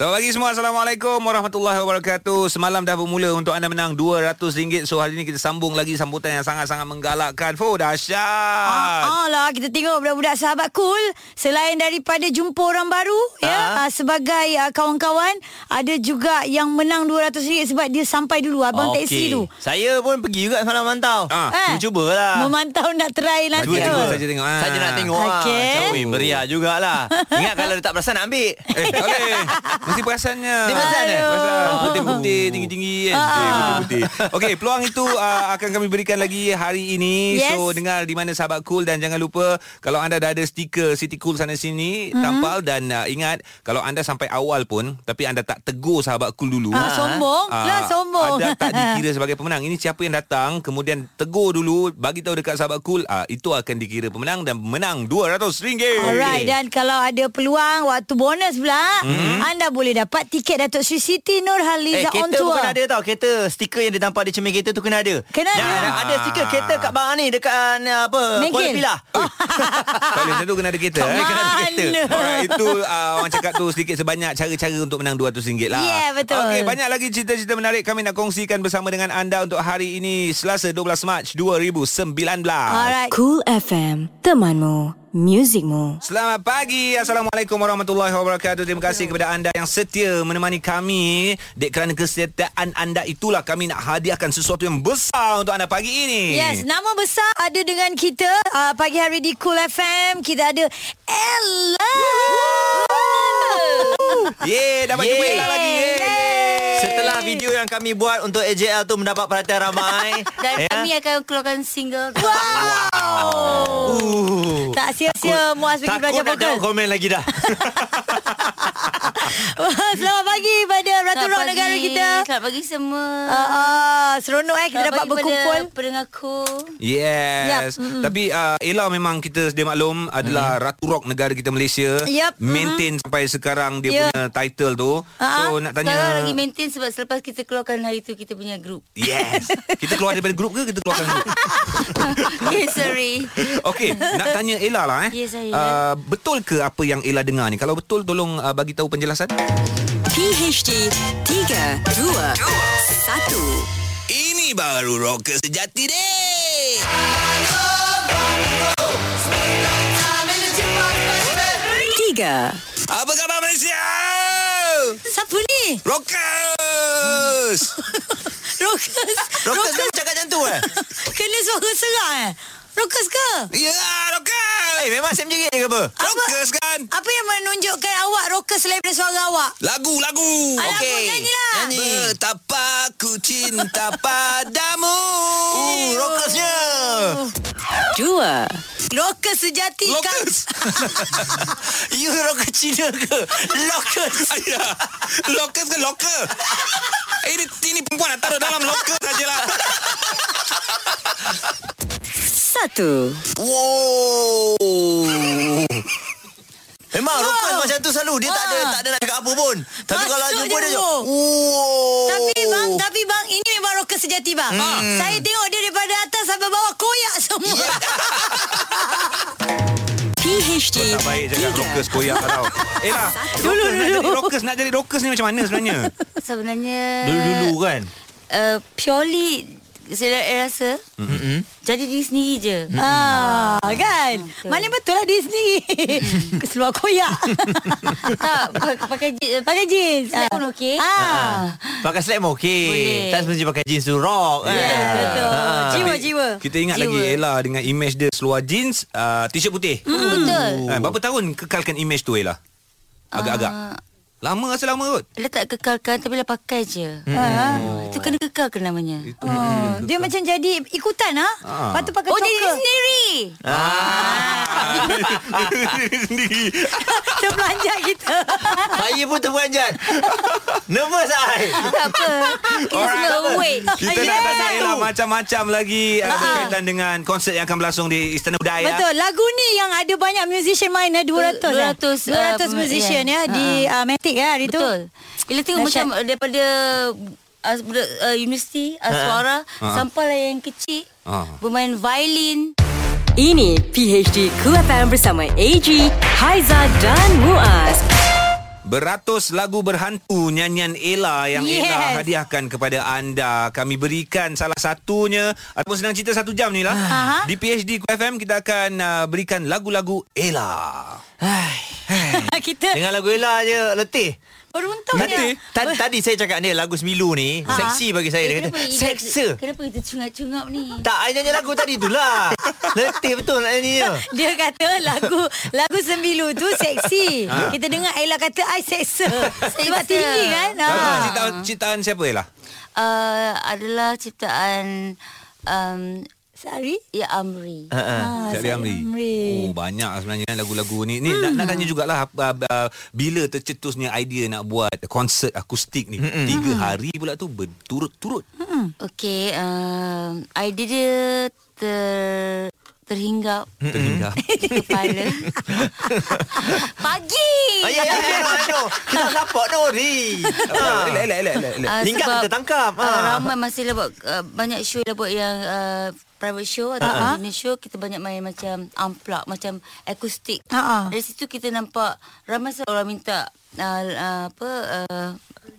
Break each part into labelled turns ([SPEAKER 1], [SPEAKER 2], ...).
[SPEAKER 1] Selamat pagi semua Assalamualaikum warahmatullahi wabarakatuh Semalam dah bermula untuk anda menang RM200 So hari ni kita sambung lagi sambutan yang sangat-sangat menggalakkan Fuh dahsyat
[SPEAKER 2] Ah, ah lah kita tengok budak-budak sahabat cool selain daripada jumpa orang baru ha? ya ah, sebagai ah, kawan-kawan ada juga yang menang RM200 sebab dia sampai dulu abang okay. taksi tu. Eh.
[SPEAKER 3] Saya pun pergi juga semalam mantau.
[SPEAKER 1] Ah.
[SPEAKER 3] Ah. Cubalah.
[SPEAKER 2] Memantau nak try lah nanti.
[SPEAKER 1] Cuba,
[SPEAKER 2] tu.
[SPEAKER 1] cuba saja tengok ah.
[SPEAKER 3] Saja nak tengok
[SPEAKER 2] Okey.
[SPEAKER 3] ah. Macam, Ui, meriah jugalah. Ingat kalau dia tak perasan nak ambil.
[SPEAKER 1] Eh tak boleh Mesti perasannya
[SPEAKER 3] Dia perasan, eh?
[SPEAKER 1] Perasan
[SPEAKER 3] Aduh.
[SPEAKER 1] Putih-putih Tinggi-tinggi kan
[SPEAKER 2] Ah.
[SPEAKER 1] Putih-putih Okey peluang itu uh, Akan kami berikan lagi hari ini
[SPEAKER 2] Yes.
[SPEAKER 1] So dengar di mana sahabat cool Dan jangan lupa Kalau anda dah ada stiker City Cool sana sini
[SPEAKER 2] Mhm.
[SPEAKER 1] mm-hmm. Tampal dan uh, ingat Kalau anda sampai awal pun Tapi anda tak tegur sahabat cool dulu
[SPEAKER 2] Ah, sombong.
[SPEAKER 1] Ah,
[SPEAKER 2] Lah, sombong.
[SPEAKER 1] Anda tak dikira sebagai pemenang. Ini siapa yang datang kemudian tegur dulu bagi tahu dekat sahabat cool ah itu akan dikira pemenang dan menang RM200.
[SPEAKER 2] Alright dan kalau ada peluang waktu bonus pula mm-hmm. anda boleh dapat tiket Datuk Sri Siti
[SPEAKER 3] Eh,
[SPEAKER 2] Nurhaliza on
[SPEAKER 3] kereta
[SPEAKER 2] tour.
[SPEAKER 3] bukan ada tau. Kereta stiker yang ditampar di cermin kereta tu kena ada.
[SPEAKER 2] Kena ada.
[SPEAKER 3] Jangan ada stiker kereta kat barang ni dekat uh, apa?
[SPEAKER 2] Bengkel.
[SPEAKER 3] Kuala Pilah.
[SPEAKER 2] Ah.
[SPEAKER 1] Tak boleh macam tu kena ada kereta. eh.
[SPEAKER 3] Kena ada
[SPEAKER 2] Mana?
[SPEAKER 3] kereta.
[SPEAKER 1] Alright, itu uh, orang cakap tu sedikit sebanyak cara-cara untuk menang RM200 lah.
[SPEAKER 2] Yeah, Ya, betul.
[SPEAKER 1] Okey, banyak lagi cerita-cerita menarik kami nak kongsikan bersama dengan anda untuk hari ini Selasa 12 Mac 2019.
[SPEAKER 2] Alright.
[SPEAKER 4] Cool FM, temanmu, muzikmu.
[SPEAKER 1] Selamat pagi. Assalamualaikum warahmatullahi wabarakatuh. Terima kasih kepada anda yang setia menemani kami. Dek kerana kesetiaan anda itulah kami nak hadiahkan sesuatu yang besar untuk anda pagi
[SPEAKER 3] Eh.
[SPEAKER 1] ini.
[SPEAKER 2] Yes, nama besar ada dengan kita uh, pagi hari di Cool FM. Kita ada Ella.
[SPEAKER 1] Yeay, dapat
[SPEAKER 3] Yeay.
[SPEAKER 1] jumpa Ella lah lagi. Yeay.
[SPEAKER 3] Setelah video yang kami buat untuk AJL tu mendapat perhatian ramai.
[SPEAKER 5] Dan
[SPEAKER 1] Ya.
[SPEAKER 5] yeah. kami akan keluarkan single
[SPEAKER 2] Wow.
[SPEAKER 3] Uh,
[SPEAKER 2] Tak sia-sia Muaz pergi
[SPEAKER 3] takut
[SPEAKER 2] belajar
[SPEAKER 3] nak
[SPEAKER 2] vokal.
[SPEAKER 3] jawab komen lagi dah.
[SPEAKER 2] Selamat pagi pada Ratu Rock negara kita.
[SPEAKER 5] Selamat pagi semua
[SPEAKER 2] Uh, uh, seronok eh kita
[SPEAKER 5] Selamat
[SPEAKER 2] dapat
[SPEAKER 5] pagi
[SPEAKER 2] berkumpul.
[SPEAKER 5] pada pendengarku
[SPEAKER 1] Yes. Yep. Mm. Tapi uh, Ella memang kita sedia maklum adalah mm. ratu rock negara kita Malaysia.
[SPEAKER 2] Yep.
[SPEAKER 1] Maintain mm-hmm. sampai sekarang dia
[SPEAKER 2] Yeah.
[SPEAKER 1] punya title tu. So Oh, nak tanya
[SPEAKER 5] Sekarang lagi maintain sebab selepas kita keluarkan hari tu kita punya group
[SPEAKER 1] Yes. kita keluar daripada grup ke kita keluarkan grup?
[SPEAKER 5] Okay sorry
[SPEAKER 1] Okey, nak tanya Ella lah eh.
[SPEAKER 5] Ya, saya.
[SPEAKER 1] Uh, betul ke apa yang Ella dengar ni? Kalau betul tolong uh, bagi tahu penjelasan.
[SPEAKER 4] PHD 3, 2, 1.
[SPEAKER 1] Ini baru rocker sejati deh.
[SPEAKER 4] Tiga.
[SPEAKER 1] Apa khabar Malaysia?
[SPEAKER 2] Siapa ni?
[SPEAKER 1] Rockers. kan
[SPEAKER 2] Rokas.
[SPEAKER 3] Rokas kau cakap macam tu eh?
[SPEAKER 2] Kena suara serak eh. Rokas ke?
[SPEAKER 1] Ya, yeah, rockers.
[SPEAKER 3] Eh, memang Sam jerit ke apa?
[SPEAKER 1] Rockers kan?
[SPEAKER 2] Apa yang menunjukkan awak rokas selain daripada suara awak?
[SPEAKER 1] Lagu, lagu.
[SPEAKER 2] Alah,
[SPEAKER 3] Okey.
[SPEAKER 2] okay. nyanyi lah.
[SPEAKER 3] Nyanyi.
[SPEAKER 1] Betapa ku cinta padamu.
[SPEAKER 3] Uh, rokasnya.
[SPEAKER 4] Dua.
[SPEAKER 2] Rokas sejati kan.
[SPEAKER 1] Lokus.
[SPEAKER 3] You rokas Cina ke? Lokas.
[SPEAKER 1] Ayah. Lokus ke loker? Ini, ini perempuan nak taruh dalam loker sajalah.
[SPEAKER 4] Satu.
[SPEAKER 3] Wow. Memang wow. rokas macam tu selalu. Dia tak ada
[SPEAKER 2] Ah.
[SPEAKER 3] tak ada nak cakap apa pun. Tapi
[SPEAKER 2] Masuk
[SPEAKER 3] kalau jumpa
[SPEAKER 2] je
[SPEAKER 3] dia
[SPEAKER 2] dulu.
[SPEAKER 3] macam wow.
[SPEAKER 2] Tapi bang, tapi bang, ini memang rokas sejati bang. Hmm. Saya tengok dia daripada atas sampai bawah koyak semua.
[SPEAKER 4] PHD
[SPEAKER 1] Tak baik cakap rockers koyak tau. Eh lah.
[SPEAKER 2] Dulu,
[SPEAKER 1] rockers nak
[SPEAKER 2] Eh. dulu.
[SPEAKER 1] jadi Rockers nak jadi rockers ni macam mana sebenarnya?
[SPEAKER 5] Sebenarnya
[SPEAKER 3] Dulu-dulu kan.
[SPEAKER 5] uh, Purely Saya rasa mm-hmm. Jadi diri sendiri je
[SPEAKER 2] Ah, kan? Mana betul lah dia sendiri. Keseluar koyak.
[SPEAKER 5] Tak pa- Pakai je-
[SPEAKER 2] Pakai jeans.
[SPEAKER 5] Slap pun okey.
[SPEAKER 2] Ah.
[SPEAKER 3] Pakai slap pun okey.
[SPEAKER 5] Boleh.
[SPEAKER 3] Tak semestinya pakai jeans tu rock.
[SPEAKER 2] Ya,
[SPEAKER 3] kan?
[SPEAKER 2] betul.
[SPEAKER 3] Ah.
[SPEAKER 2] Jiwa,
[SPEAKER 1] Tapi
[SPEAKER 2] jiwa.
[SPEAKER 1] Kita ingat
[SPEAKER 5] Jiwa.
[SPEAKER 1] lagi Ella dengan image dia seluar jeans, uh, t-shirt putih.
[SPEAKER 2] Hmm.
[SPEAKER 5] Betul
[SPEAKER 1] Oh. Berapa tahun kekalkan image tu Ella? Agak-agak. Uh. Lama rasa lama kot.
[SPEAKER 5] Dia tak kekalkan Tapi dia pakai je Ah.
[SPEAKER 1] Oh.
[SPEAKER 5] Itu kena kekalkan namanya
[SPEAKER 2] Oh, dia macam jadi ikutan ha?
[SPEAKER 1] Ah.
[SPEAKER 2] Lepas tu pakai
[SPEAKER 5] Oh
[SPEAKER 2] choker.
[SPEAKER 5] jadi diri sendiri
[SPEAKER 2] Terpelanjat kita.
[SPEAKER 3] Saya pun terperanjat. Nervous ai.
[SPEAKER 5] Tak apa Kita semua awake
[SPEAKER 1] Kita
[SPEAKER 2] Yes. Ah.
[SPEAKER 1] nak tanya Ella macam-macam lagi uh, berkaitan dengan konsert yang akan berlangsung di Istana Budaya.
[SPEAKER 2] Betul. Lagu ni yang ada banyak musician main eh 200 eh.
[SPEAKER 5] 200,
[SPEAKER 2] 200
[SPEAKER 5] ah,
[SPEAKER 2] musician ya
[SPEAKER 5] yeah.
[SPEAKER 2] di uh, Matic ya hari tu.
[SPEAKER 5] Betul. Bila tengok
[SPEAKER 2] Dahsyat.
[SPEAKER 5] macam daripada as, budak uh, universiti Aswara
[SPEAKER 1] Ha.
[SPEAKER 5] Sampailah yang kecil
[SPEAKER 1] Ha.
[SPEAKER 5] Bermain violin
[SPEAKER 4] Ini PHD Cool FM bersama AG, Haiza dan Muaz.
[SPEAKER 1] Beratus lagu berhantu nyanyian Ella yang yes.
[SPEAKER 2] Yes.
[SPEAKER 1] Ella hadiahkan kepada anda. Kami berikan salah satunya ataupun senang cerita satu jam ni lah.
[SPEAKER 2] Aha.
[SPEAKER 1] Di PhD QFM kita akan uh, berikan lagu-lagu Ella.
[SPEAKER 2] Kita
[SPEAKER 3] Dengan lagu Ella je letih.
[SPEAKER 2] beruntungnya.
[SPEAKER 3] Tadi, tadi saya cakap ni lagu Semilu ni ha. seksi bagi saya dia kata
[SPEAKER 5] Eh, kita-
[SPEAKER 3] seksa.
[SPEAKER 5] Kenapa kita cungap-cungap ni
[SPEAKER 3] Tak, I nyanyi lagu tadi tu lah. letih betul nak nyanyi dia.
[SPEAKER 2] Dia kata lagu lagu sembilu tu seksi.
[SPEAKER 1] Ha.
[SPEAKER 2] Kita dengar Ella kata I seksa. Sebab tinggi kan. Ha.
[SPEAKER 1] Lagu ciptaan, ciptaan siapa Ella?
[SPEAKER 5] uh, Adalah ciptaan um,
[SPEAKER 2] Sari.
[SPEAKER 5] Ya Amri
[SPEAKER 3] Ha, ha.
[SPEAKER 2] Ah,
[SPEAKER 1] Cik Ali Amri.
[SPEAKER 2] Amri.
[SPEAKER 1] Oh banyak sebenarnya kan lagu-lagu ni. Ni hmm. nak, nak tanya jugalah uh, uh, bila tercetusnya idea nak buat konsert akustik ni. Mm-mm. Tiga hari pula tu berturut-turut.
[SPEAKER 3] ha.
[SPEAKER 5] Okay um, Idea dia ter, Terhinggap
[SPEAKER 1] Terhingga.
[SPEAKER 5] Kepala Pagi
[SPEAKER 3] Ayah, ayah, ayah, ayah. Kita support Nori.
[SPEAKER 1] Elak, elak, elak, elak, elak.
[SPEAKER 5] Ah,
[SPEAKER 3] Hinggap
[SPEAKER 5] sebab,
[SPEAKER 3] Ha. kita tangkap,
[SPEAKER 5] ah,
[SPEAKER 3] ah.
[SPEAKER 5] Ramai masih lah buat uh, Banyak show lah buat yang uh, Private show Atau uh-huh. show Kita banyak main macam Unplug Macam akustik
[SPEAKER 2] Ah, ah.
[SPEAKER 5] Dari situ kita nampak Ramai sekali orang minta uh, uh, Apa uh,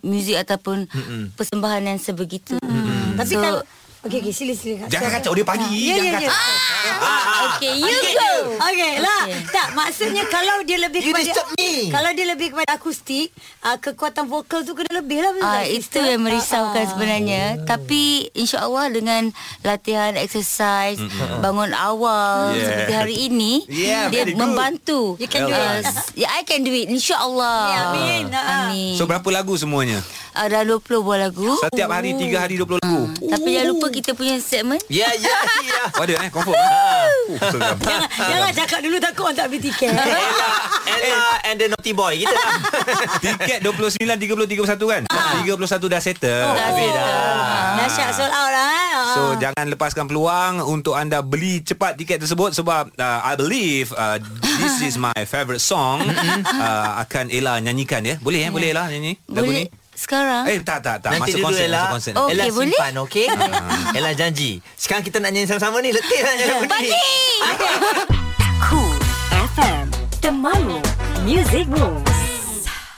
[SPEAKER 5] Muzik ataupun Mm-mm. Persembahan yang sebegitu Mm-mm.
[SPEAKER 2] Tapi kalau Okey, okey, sila, sila.
[SPEAKER 1] Jangan kacau dia pagi.
[SPEAKER 2] Ya, ya, ya.
[SPEAKER 5] Okay you go
[SPEAKER 2] Okey lah. Tak, maksudnya kalau dia lebih
[SPEAKER 3] You
[SPEAKER 2] kepada
[SPEAKER 3] disturb me.
[SPEAKER 2] kalau dia lebih kepada akustik, uh, kekuatan vokal tu kena lebih lah betul
[SPEAKER 5] Ah,
[SPEAKER 2] tak,
[SPEAKER 5] itu
[SPEAKER 2] sister?
[SPEAKER 5] yang
[SPEAKER 2] Ah,
[SPEAKER 5] merisaukan
[SPEAKER 2] ah.
[SPEAKER 5] sebenarnya Tapi insyaAllah dengan latihan, exercise Bangun awal
[SPEAKER 1] Yeah.
[SPEAKER 5] seperti hari ini
[SPEAKER 1] Yeah,
[SPEAKER 5] Dia
[SPEAKER 1] very good.
[SPEAKER 5] membantu
[SPEAKER 2] You can do
[SPEAKER 5] Ah,
[SPEAKER 2] it.
[SPEAKER 5] s- yeah, I can do it InsyaAllah
[SPEAKER 2] Yeah, amin. Ah.
[SPEAKER 5] Amin Ah,
[SPEAKER 1] So berapa lagu semuanya?
[SPEAKER 5] Ada 20 buah lagu
[SPEAKER 1] Setiap hari tiga hari 20 lagu.
[SPEAKER 5] Tapi jangan lupa kita punya segmen
[SPEAKER 3] Ya, ya, ya.
[SPEAKER 1] Oh, ada eh confirm. eh? Oh, seram.
[SPEAKER 2] Jangan, ah, jangan cakap dulu takut orang tak beli tiket. Ah.
[SPEAKER 3] Ella, Ella and the Naughty Boy. Kita dah.
[SPEAKER 1] Tiket 29 30 31 kan? 31 dah settle.
[SPEAKER 5] Habis dah.
[SPEAKER 2] Nasyat sold out lah. eh. Ah.
[SPEAKER 1] So jangan lepaskan peluang untuk anda beli cepat tiket tersebut sebab uh, I believe uh, this is my favorite song uh, akan Ella nyanyikan ya. Boleh eh? Boleh Ella nyanyi lagu
[SPEAKER 5] Boleh Ah.
[SPEAKER 1] ni?
[SPEAKER 5] sekarang
[SPEAKER 1] Eh tak tak tak masa
[SPEAKER 3] Nanti dulu
[SPEAKER 1] konsert
[SPEAKER 3] Ella.
[SPEAKER 1] masa konsert.
[SPEAKER 5] Oh.
[SPEAKER 3] Ella
[SPEAKER 5] Okey, boleh?
[SPEAKER 3] simpan, okey?
[SPEAKER 2] Ah.
[SPEAKER 3] Ella janji. Sekarang kita nak nyanyi sama-sama ni. Letih lah nyanyi lagu ni.
[SPEAKER 4] Cool FM, The Mamu, Music Rules.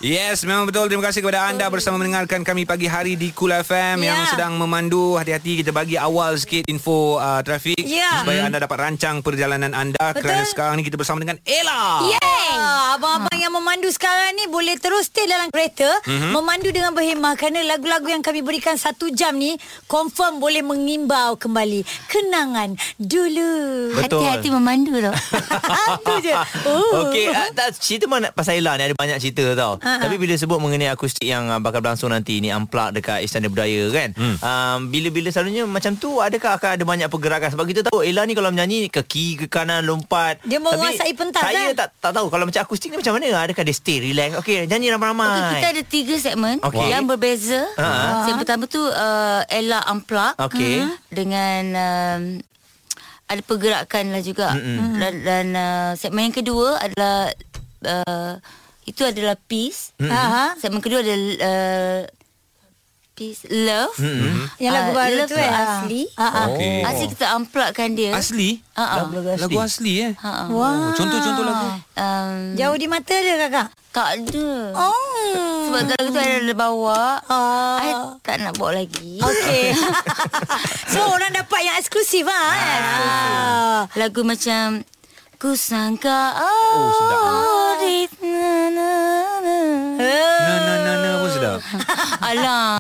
[SPEAKER 1] Yes, memang betul. Terima kasih kepada anda bersama mendengarkan kami pagi hari di Cool FM yang
[SPEAKER 2] Ya.
[SPEAKER 1] sedang memandu. Hati-hati kita bagi awal sikit info uh, trafik
[SPEAKER 2] Ya.
[SPEAKER 1] supaya anda dapat rancang perjalanan anda
[SPEAKER 2] Betul.
[SPEAKER 1] kerana sekarang ni kita bersama dengan Ella.
[SPEAKER 2] Yeay. Ah, Abang-abang yang memandu sekarang ni boleh terus stay dalam kereta,
[SPEAKER 3] Mhm.
[SPEAKER 2] memandu dengan berhemah kerana lagu-lagu yang kami berikan satu jam ni confirm boleh mengimbau kembali kenangan dulu.
[SPEAKER 3] Betul.
[SPEAKER 5] Hati-hati memandu tau
[SPEAKER 2] Itu je. Oh.
[SPEAKER 3] Okey, uh, tak, cerita mana pasal Ella ni ada banyak cerita tau.
[SPEAKER 2] Ha, ha.
[SPEAKER 3] Tapi bila sebut mengenai akustik yang uh, bakal berlangsung nanti ni amplak dekat Istana Budaya kan. Um, bila-bila selalunya macam tu adakah akan ada banyak pergerakan sebab kita tahu Ella ni kalau menyanyi ke kiri ke kanan lompat.
[SPEAKER 2] Dia menguasai
[SPEAKER 3] Tapi
[SPEAKER 2] pentas,
[SPEAKER 3] Saya
[SPEAKER 2] kan?
[SPEAKER 3] tak tak tahu kalau macam akustik ni macam mana? Adakah dia stay relax? Okey, nyanyi
[SPEAKER 2] Oh,
[SPEAKER 3] ramai-ramai.
[SPEAKER 5] Okay, kita ada tiga segmen
[SPEAKER 3] Okey.
[SPEAKER 5] okay. yang berbeza.
[SPEAKER 3] Ha.
[SPEAKER 5] Uh-huh. Yang pertama tu uh, Ella Unplug
[SPEAKER 3] Okey.
[SPEAKER 5] dengan um, ada pergerakan lah juga. Mm-mm. Dan, dan uh, segmen yang kedua adalah uh, itu adalah peace.
[SPEAKER 1] Mm-hmm.
[SPEAKER 2] Ha.
[SPEAKER 5] Segmen kedua ada uh, peace love. Mm-hmm.
[SPEAKER 2] Yang lagu baru
[SPEAKER 5] love Lah
[SPEAKER 2] tu eh.
[SPEAKER 5] Asli.
[SPEAKER 2] Ha, ha.
[SPEAKER 1] Okey.
[SPEAKER 5] Oh. Asli kita unplugkan dia.
[SPEAKER 1] Asli?
[SPEAKER 5] Ha.
[SPEAKER 3] Lagu-
[SPEAKER 5] Uh-uh.
[SPEAKER 3] lagu
[SPEAKER 1] Lagu asli eh.
[SPEAKER 5] Ha.
[SPEAKER 2] Wah.
[SPEAKER 1] Oh, contoh-contoh lagu.
[SPEAKER 5] Um,
[SPEAKER 2] Jauh di mata dia kakak.
[SPEAKER 5] tak ada.
[SPEAKER 2] Oh.
[SPEAKER 5] Sebab kalau tu ada dia bawa
[SPEAKER 2] Ah.
[SPEAKER 5] I tak nak bawa lagi
[SPEAKER 2] Okey. so orang dapat yang eksklusif ah. ah.
[SPEAKER 5] Lagu macam Ku sangka
[SPEAKER 1] Oh, sedap.
[SPEAKER 5] Oh di na, na, na.
[SPEAKER 1] Na na na na pun sedap.
[SPEAKER 5] Alah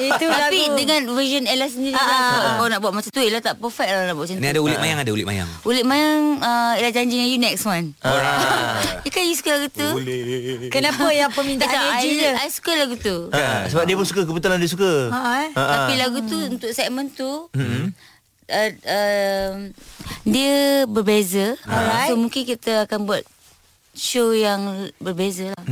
[SPEAKER 2] Itu
[SPEAKER 5] Tapi
[SPEAKER 2] lagu.
[SPEAKER 5] dengan version Ella sendiri
[SPEAKER 2] Ah, ah,
[SPEAKER 5] lah, Kau nak buat macam tu Ella tak perfect lah nak buat macam
[SPEAKER 1] Ni
[SPEAKER 5] tu
[SPEAKER 1] ada ulit mayang ada ulit mayang.
[SPEAKER 5] Ulit mayang uh, Ella janji dengan you next one
[SPEAKER 3] Ah.
[SPEAKER 5] You kan you suka lagu tu Ulit
[SPEAKER 2] kenapa yang
[SPEAKER 5] Tak,
[SPEAKER 2] permintaan AG je?
[SPEAKER 5] I, I suka lagu
[SPEAKER 1] Ah,
[SPEAKER 5] tu
[SPEAKER 3] Ha, sebab dia pun suka kebetulan dia suka.
[SPEAKER 2] Ha eh.
[SPEAKER 3] Ha, ha.
[SPEAKER 5] Tapi lagu tu untuk segmen tu uh, um, dia berbeza.
[SPEAKER 2] Alright.
[SPEAKER 5] So mungkin kita akan buat show yang berbeza lah.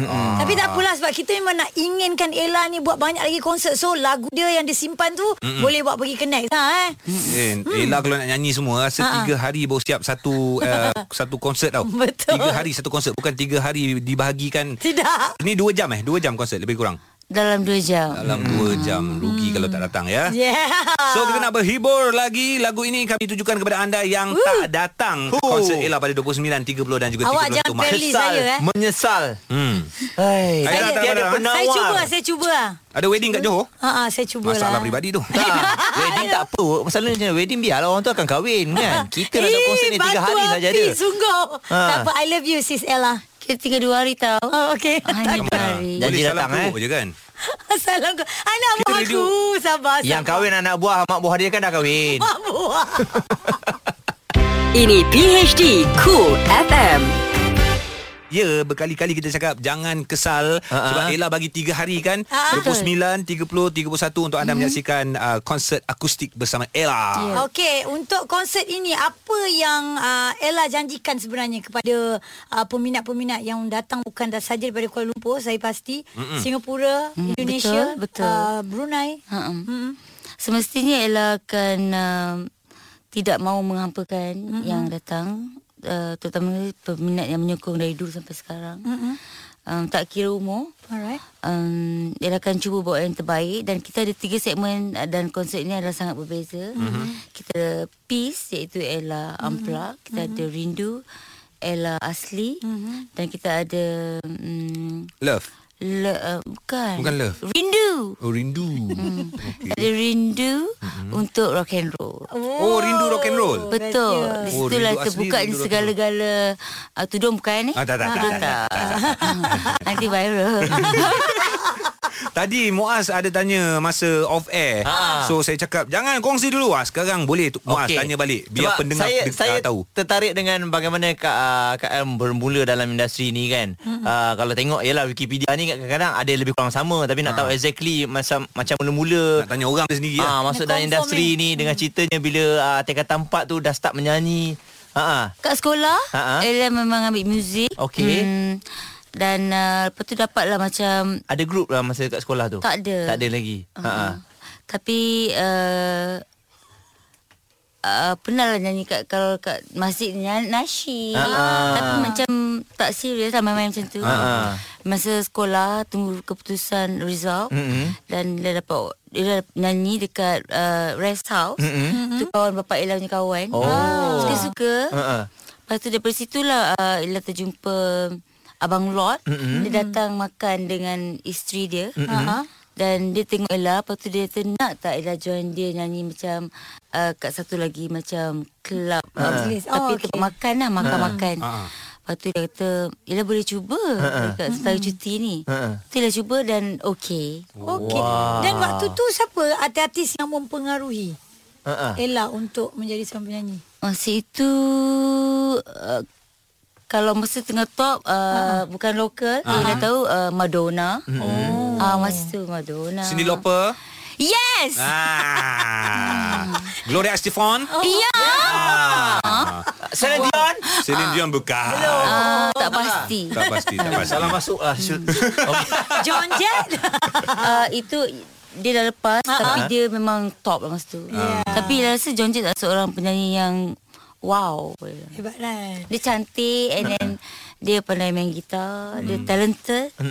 [SPEAKER 2] Tapi tak apalah sebab kita memang nak inginkan Ella ni buat banyak lagi konsert. So lagu dia yang dia simpan tu Mm-mm. boleh buat pergi ke next. Ha eh.
[SPEAKER 1] Eh, Ella kalau nak nyanyi semua rasa tiga hari baru siap satu uh, satu konsert tau.
[SPEAKER 2] Betul.
[SPEAKER 1] Tiga hari satu konsert bukan tiga hari dibahagikan.
[SPEAKER 2] Tidak.
[SPEAKER 1] Ini dua jam eh, dua jam konsert lebih kurang.
[SPEAKER 5] Dalam 2 jam.
[SPEAKER 1] Dalam 2 jam Rugi kalau tak datang Hmm. ya
[SPEAKER 2] Yeah.
[SPEAKER 1] So kita nak berhibur lagi Lagu ini kami tujukan kepada anda Yang Woo. tak datang Woo. Konsert Ella pada 29, 30 dan juga 31
[SPEAKER 2] Awak jangan
[SPEAKER 1] Mac
[SPEAKER 2] playlist saya eh.
[SPEAKER 3] Menyesal.
[SPEAKER 1] hmm.
[SPEAKER 3] Hai.
[SPEAKER 1] Saya-
[SPEAKER 3] Tiada- tiada
[SPEAKER 1] saya
[SPEAKER 3] penawar.
[SPEAKER 2] Saya cuba, saya cuba.
[SPEAKER 1] Ada wedding kat Johor?
[SPEAKER 2] Ha ah, saya cubalah.
[SPEAKER 1] Masalah peribadi tu
[SPEAKER 3] Tak. Ah. wedding tak apa. Masalahnya macam wedding biarlah orang tu akan kahwin
[SPEAKER 2] Ah.
[SPEAKER 3] kan. Kita dah tak konsert ni 3 hari saja ada.
[SPEAKER 2] Eh, Sungguh.
[SPEAKER 3] Ha.
[SPEAKER 2] Tak apa, I love you sis Ella.
[SPEAKER 5] Kita tinggal 2 hari tau.
[SPEAKER 2] Oh, okay.
[SPEAKER 3] Ah.
[SPEAKER 5] Hanya 2 hari.
[SPEAKER 3] Jangan
[SPEAKER 1] Boleh salam
[SPEAKER 3] datang, eh.
[SPEAKER 1] teruk je kan
[SPEAKER 2] Salam kau. Anak
[SPEAKER 1] Kita
[SPEAKER 2] buah
[SPEAKER 1] radio.
[SPEAKER 2] aku. Sabar, sabar.
[SPEAKER 3] Yang kahwin anak buah, mak buah dia kan dah kahwin.
[SPEAKER 2] Mak buah.
[SPEAKER 4] Ini PHD Cool FM.
[SPEAKER 1] Ya berkali-kali kita cakap Jangan kesal uh-huh.
[SPEAKER 3] Ha-ha.
[SPEAKER 1] Sebab Ella bagi 3 hari kan
[SPEAKER 2] Ha-ha.
[SPEAKER 1] uh-huh. 29, 30, 31 Untuk anda hmm. Ya. menyaksikan uh, Konsert akustik bersama Ella yeah.
[SPEAKER 2] Okey, untuk konsert ini apa yang uh, Ella janjikan sebenarnya kepada uh, peminat-peminat yang datang bukan dah saja daripada Kuala Lumpur, saya pasti Mm-mm. Singapura,
[SPEAKER 5] Mm,
[SPEAKER 2] Indonesia,
[SPEAKER 5] betul, betul.
[SPEAKER 2] Uh, Brunei.
[SPEAKER 5] Ha.
[SPEAKER 2] Mm-mm.
[SPEAKER 5] Semestinya Ella akan um, tidak mahu menghampakan mm-hmm. yang datang uh, terutama peminat yang menyokong dari dulu sampai sekarang.
[SPEAKER 2] Hmm.
[SPEAKER 5] Mm-hmm. Um, tak kira umur.
[SPEAKER 2] Alright.
[SPEAKER 5] Um, Ella akan cuba buat yang terbaik dan kita ada tiga segmen uh, dan konsert ini adalah sangat berbeza.
[SPEAKER 1] Mhm.
[SPEAKER 5] Mm-hmm. Kita ada Peace iaitu Ella Ampla, mm-hmm. kita
[SPEAKER 1] Mhm.
[SPEAKER 5] mm-hmm. ada Rindu Ella Asli mm-hmm. dan kita ada um,
[SPEAKER 1] Love
[SPEAKER 5] le, uh, bukan
[SPEAKER 1] Bukan love.
[SPEAKER 5] Rindu.
[SPEAKER 1] Oh rindu hmm.
[SPEAKER 5] Ada rindu
[SPEAKER 1] Mhm.
[SPEAKER 5] untuk rock and roll.
[SPEAKER 1] Oh rindu rock and roll
[SPEAKER 5] Betul.
[SPEAKER 2] bestnya.
[SPEAKER 5] Di
[SPEAKER 1] Oh,
[SPEAKER 5] situlah
[SPEAKER 1] rindu asli,
[SPEAKER 5] terbuka
[SPEAKER 1] rindu rock and roll.
[SPEAKER 5] segala-gala uh, tudung bukan eh?
[SPEAKER 1] Ah, tak, tak, tak,
[SPEAKER 5] Tudung
[SPEAKER 1] tak, tak,
[SPEAKER 5] Nanti viral.
[SPEAKER 1] Tadi Muaz ada tanya masa off air.
[SPEAKER 3] Ha.
[SPEAKER 1] So saya cakap jangan kongsi dulu ah. Sekarang boleh tu Muaz okay. tanya balik biar
[SPEAKER 3] Sebab
[SPEAKER 1] pendengar
[SPEAKER 3] saya,
[SPEAKER 1] deng-
[SPEAKER 3] saya
[SPEAKER 1] ah, tahu.
[SPEAKER 3] tertarik dengan bagaimana Kak, uh, Kak El bermula dalam industri ni kan. Mm-hmm. Uh, kalau tengok ialah Wikipedia ni kadang-kadang ada lebih kurang sama tapi nak tahu exactly macam macam mula-mula
[SPEAKER 1] Ah. Nak tanya orang dia sendiri
[SPEAKER 3] Ah,
[SPEAKER 1] ah.
[SPEAKER 3] masuk
[SPEAKER 2] Kena
[SPEAKER 3] dalam
[SPEAKER 2] confirm
[SPEAKER 3] industri
[SPEAKER 2] ni.
[SPEAKER 3] ni Mm. dengan ceritanya bila ah, tingkatan 4 tu dah start menyanyi. Ha ah.
[SPEAKER 5] Kat sekolah,
[SPEAKER 3] Ha, ha.
[SPEAKER 5] Ella memang ambil muzik.
[SPEAKER 3] Okey.
[SPEAKER 5] Hmm, dan uh, lepas tu dapatlah macam
[SPEAKER 3] Ada grup lah masa kat sekolah tu.
[SPEAKER 5] Tak
[SPEAKER 3] Tak
[SPEAKER 5] ada.
[SPEAKER 3] ada lagi. Ha ah.
[SPEAKER 5] Tapi uh, uh, pernah lah nyanyi kat kalau kat masjid ni nyanyi nasyid.
[SPEAKER 3] Ah.
[SPEAKER 5] Tapi macam tak serius lah main-main macam tu.
[SPEAKER 3] Ah.
[SPEAKER 5] Masa sekolah tunggu keputusan result
[SPEAKER 3] Mm-mm.
[SPEAKER 5] dan dia dapat dia dapat nyanyi dekat uh, rest house. Mm-hmm. Tu kawan bapak Ella punya kawan.
[SPEAKER 3] Oh.
[SPEAKER 5] Suka-suka.
[SPEAKER 3] Ha ah.
[SPEAKER 5] Lepas tu daripada situlah uh, Ella terjumpa Abang Lot mm-hmm. Dia datang makan dengan isteri dia
[SPEAKER 2] Ha.
[SPEAKER 5] dan dia tengok Ella Lepas tu dia kata nak tak Ella join dia nyanyi macam uh, Kat satu lagi macam Club uh,
[SPEAKER 2] Majlis.
[SPEAKER 5] Tapi
[SPEAKER 2] Oh,
[SPEAKER 5] oh,
[SPEAKER 2] okey.
[SPEAKER 5] tempat makan lah Makan-makan uh. Lepas tu dia kata Ella boleh cuba uh Dekat setahun cuti ni
[SPEAKER 3] Ha.
[SPEAKER 5] uh Tu Ella cuba dan okay
[SPEAKER 2] Okey. Dan waktu tu siapa artis-artis yang mempengaruhi
[SPEAKER 3] Ha ah.
[SPEAKER 5] Eh,
[SPEAKER 2] Ella untuk menjadi seorang penyanyi?
[SPEAKER 5] Masa itu uh, kalau masa tengah top uh, bukan lokal, uh-huh. Ella tahu uh, Madonna. Oh. Ah masa tu Madonna.
[SPEAKER 1] Cindy Lauper.
[SPEAKER 5] Yes.
[SPEAKER 1] Ah. Gloria Estefan.
[SPEAKER 5] Ya. Yeah.
[SPEAKER 3] Celine Dion.
[SPEAKER 1] Celine Dion bukan.
[SPEAKER 5] Ah, tak pasti.
[SPEAKER 1] Tak pasti, tak pasti.
[SPEAKER 3] Salah masuk lah. Syul. Okey.
[SPEAKER 2] John Jett.
[SPEAKER 5] uh, itu dia dah lepas uh-huh. tapi dia memang top lah masa tu. Yeah. Tapi Ella rasa John Jett adalah seorang penyanyi yang wow.
[SPEAKER 2] Hebat kan?
[SPEAKER 5] Dia cantik and then dia pandai main gitar, dia talented.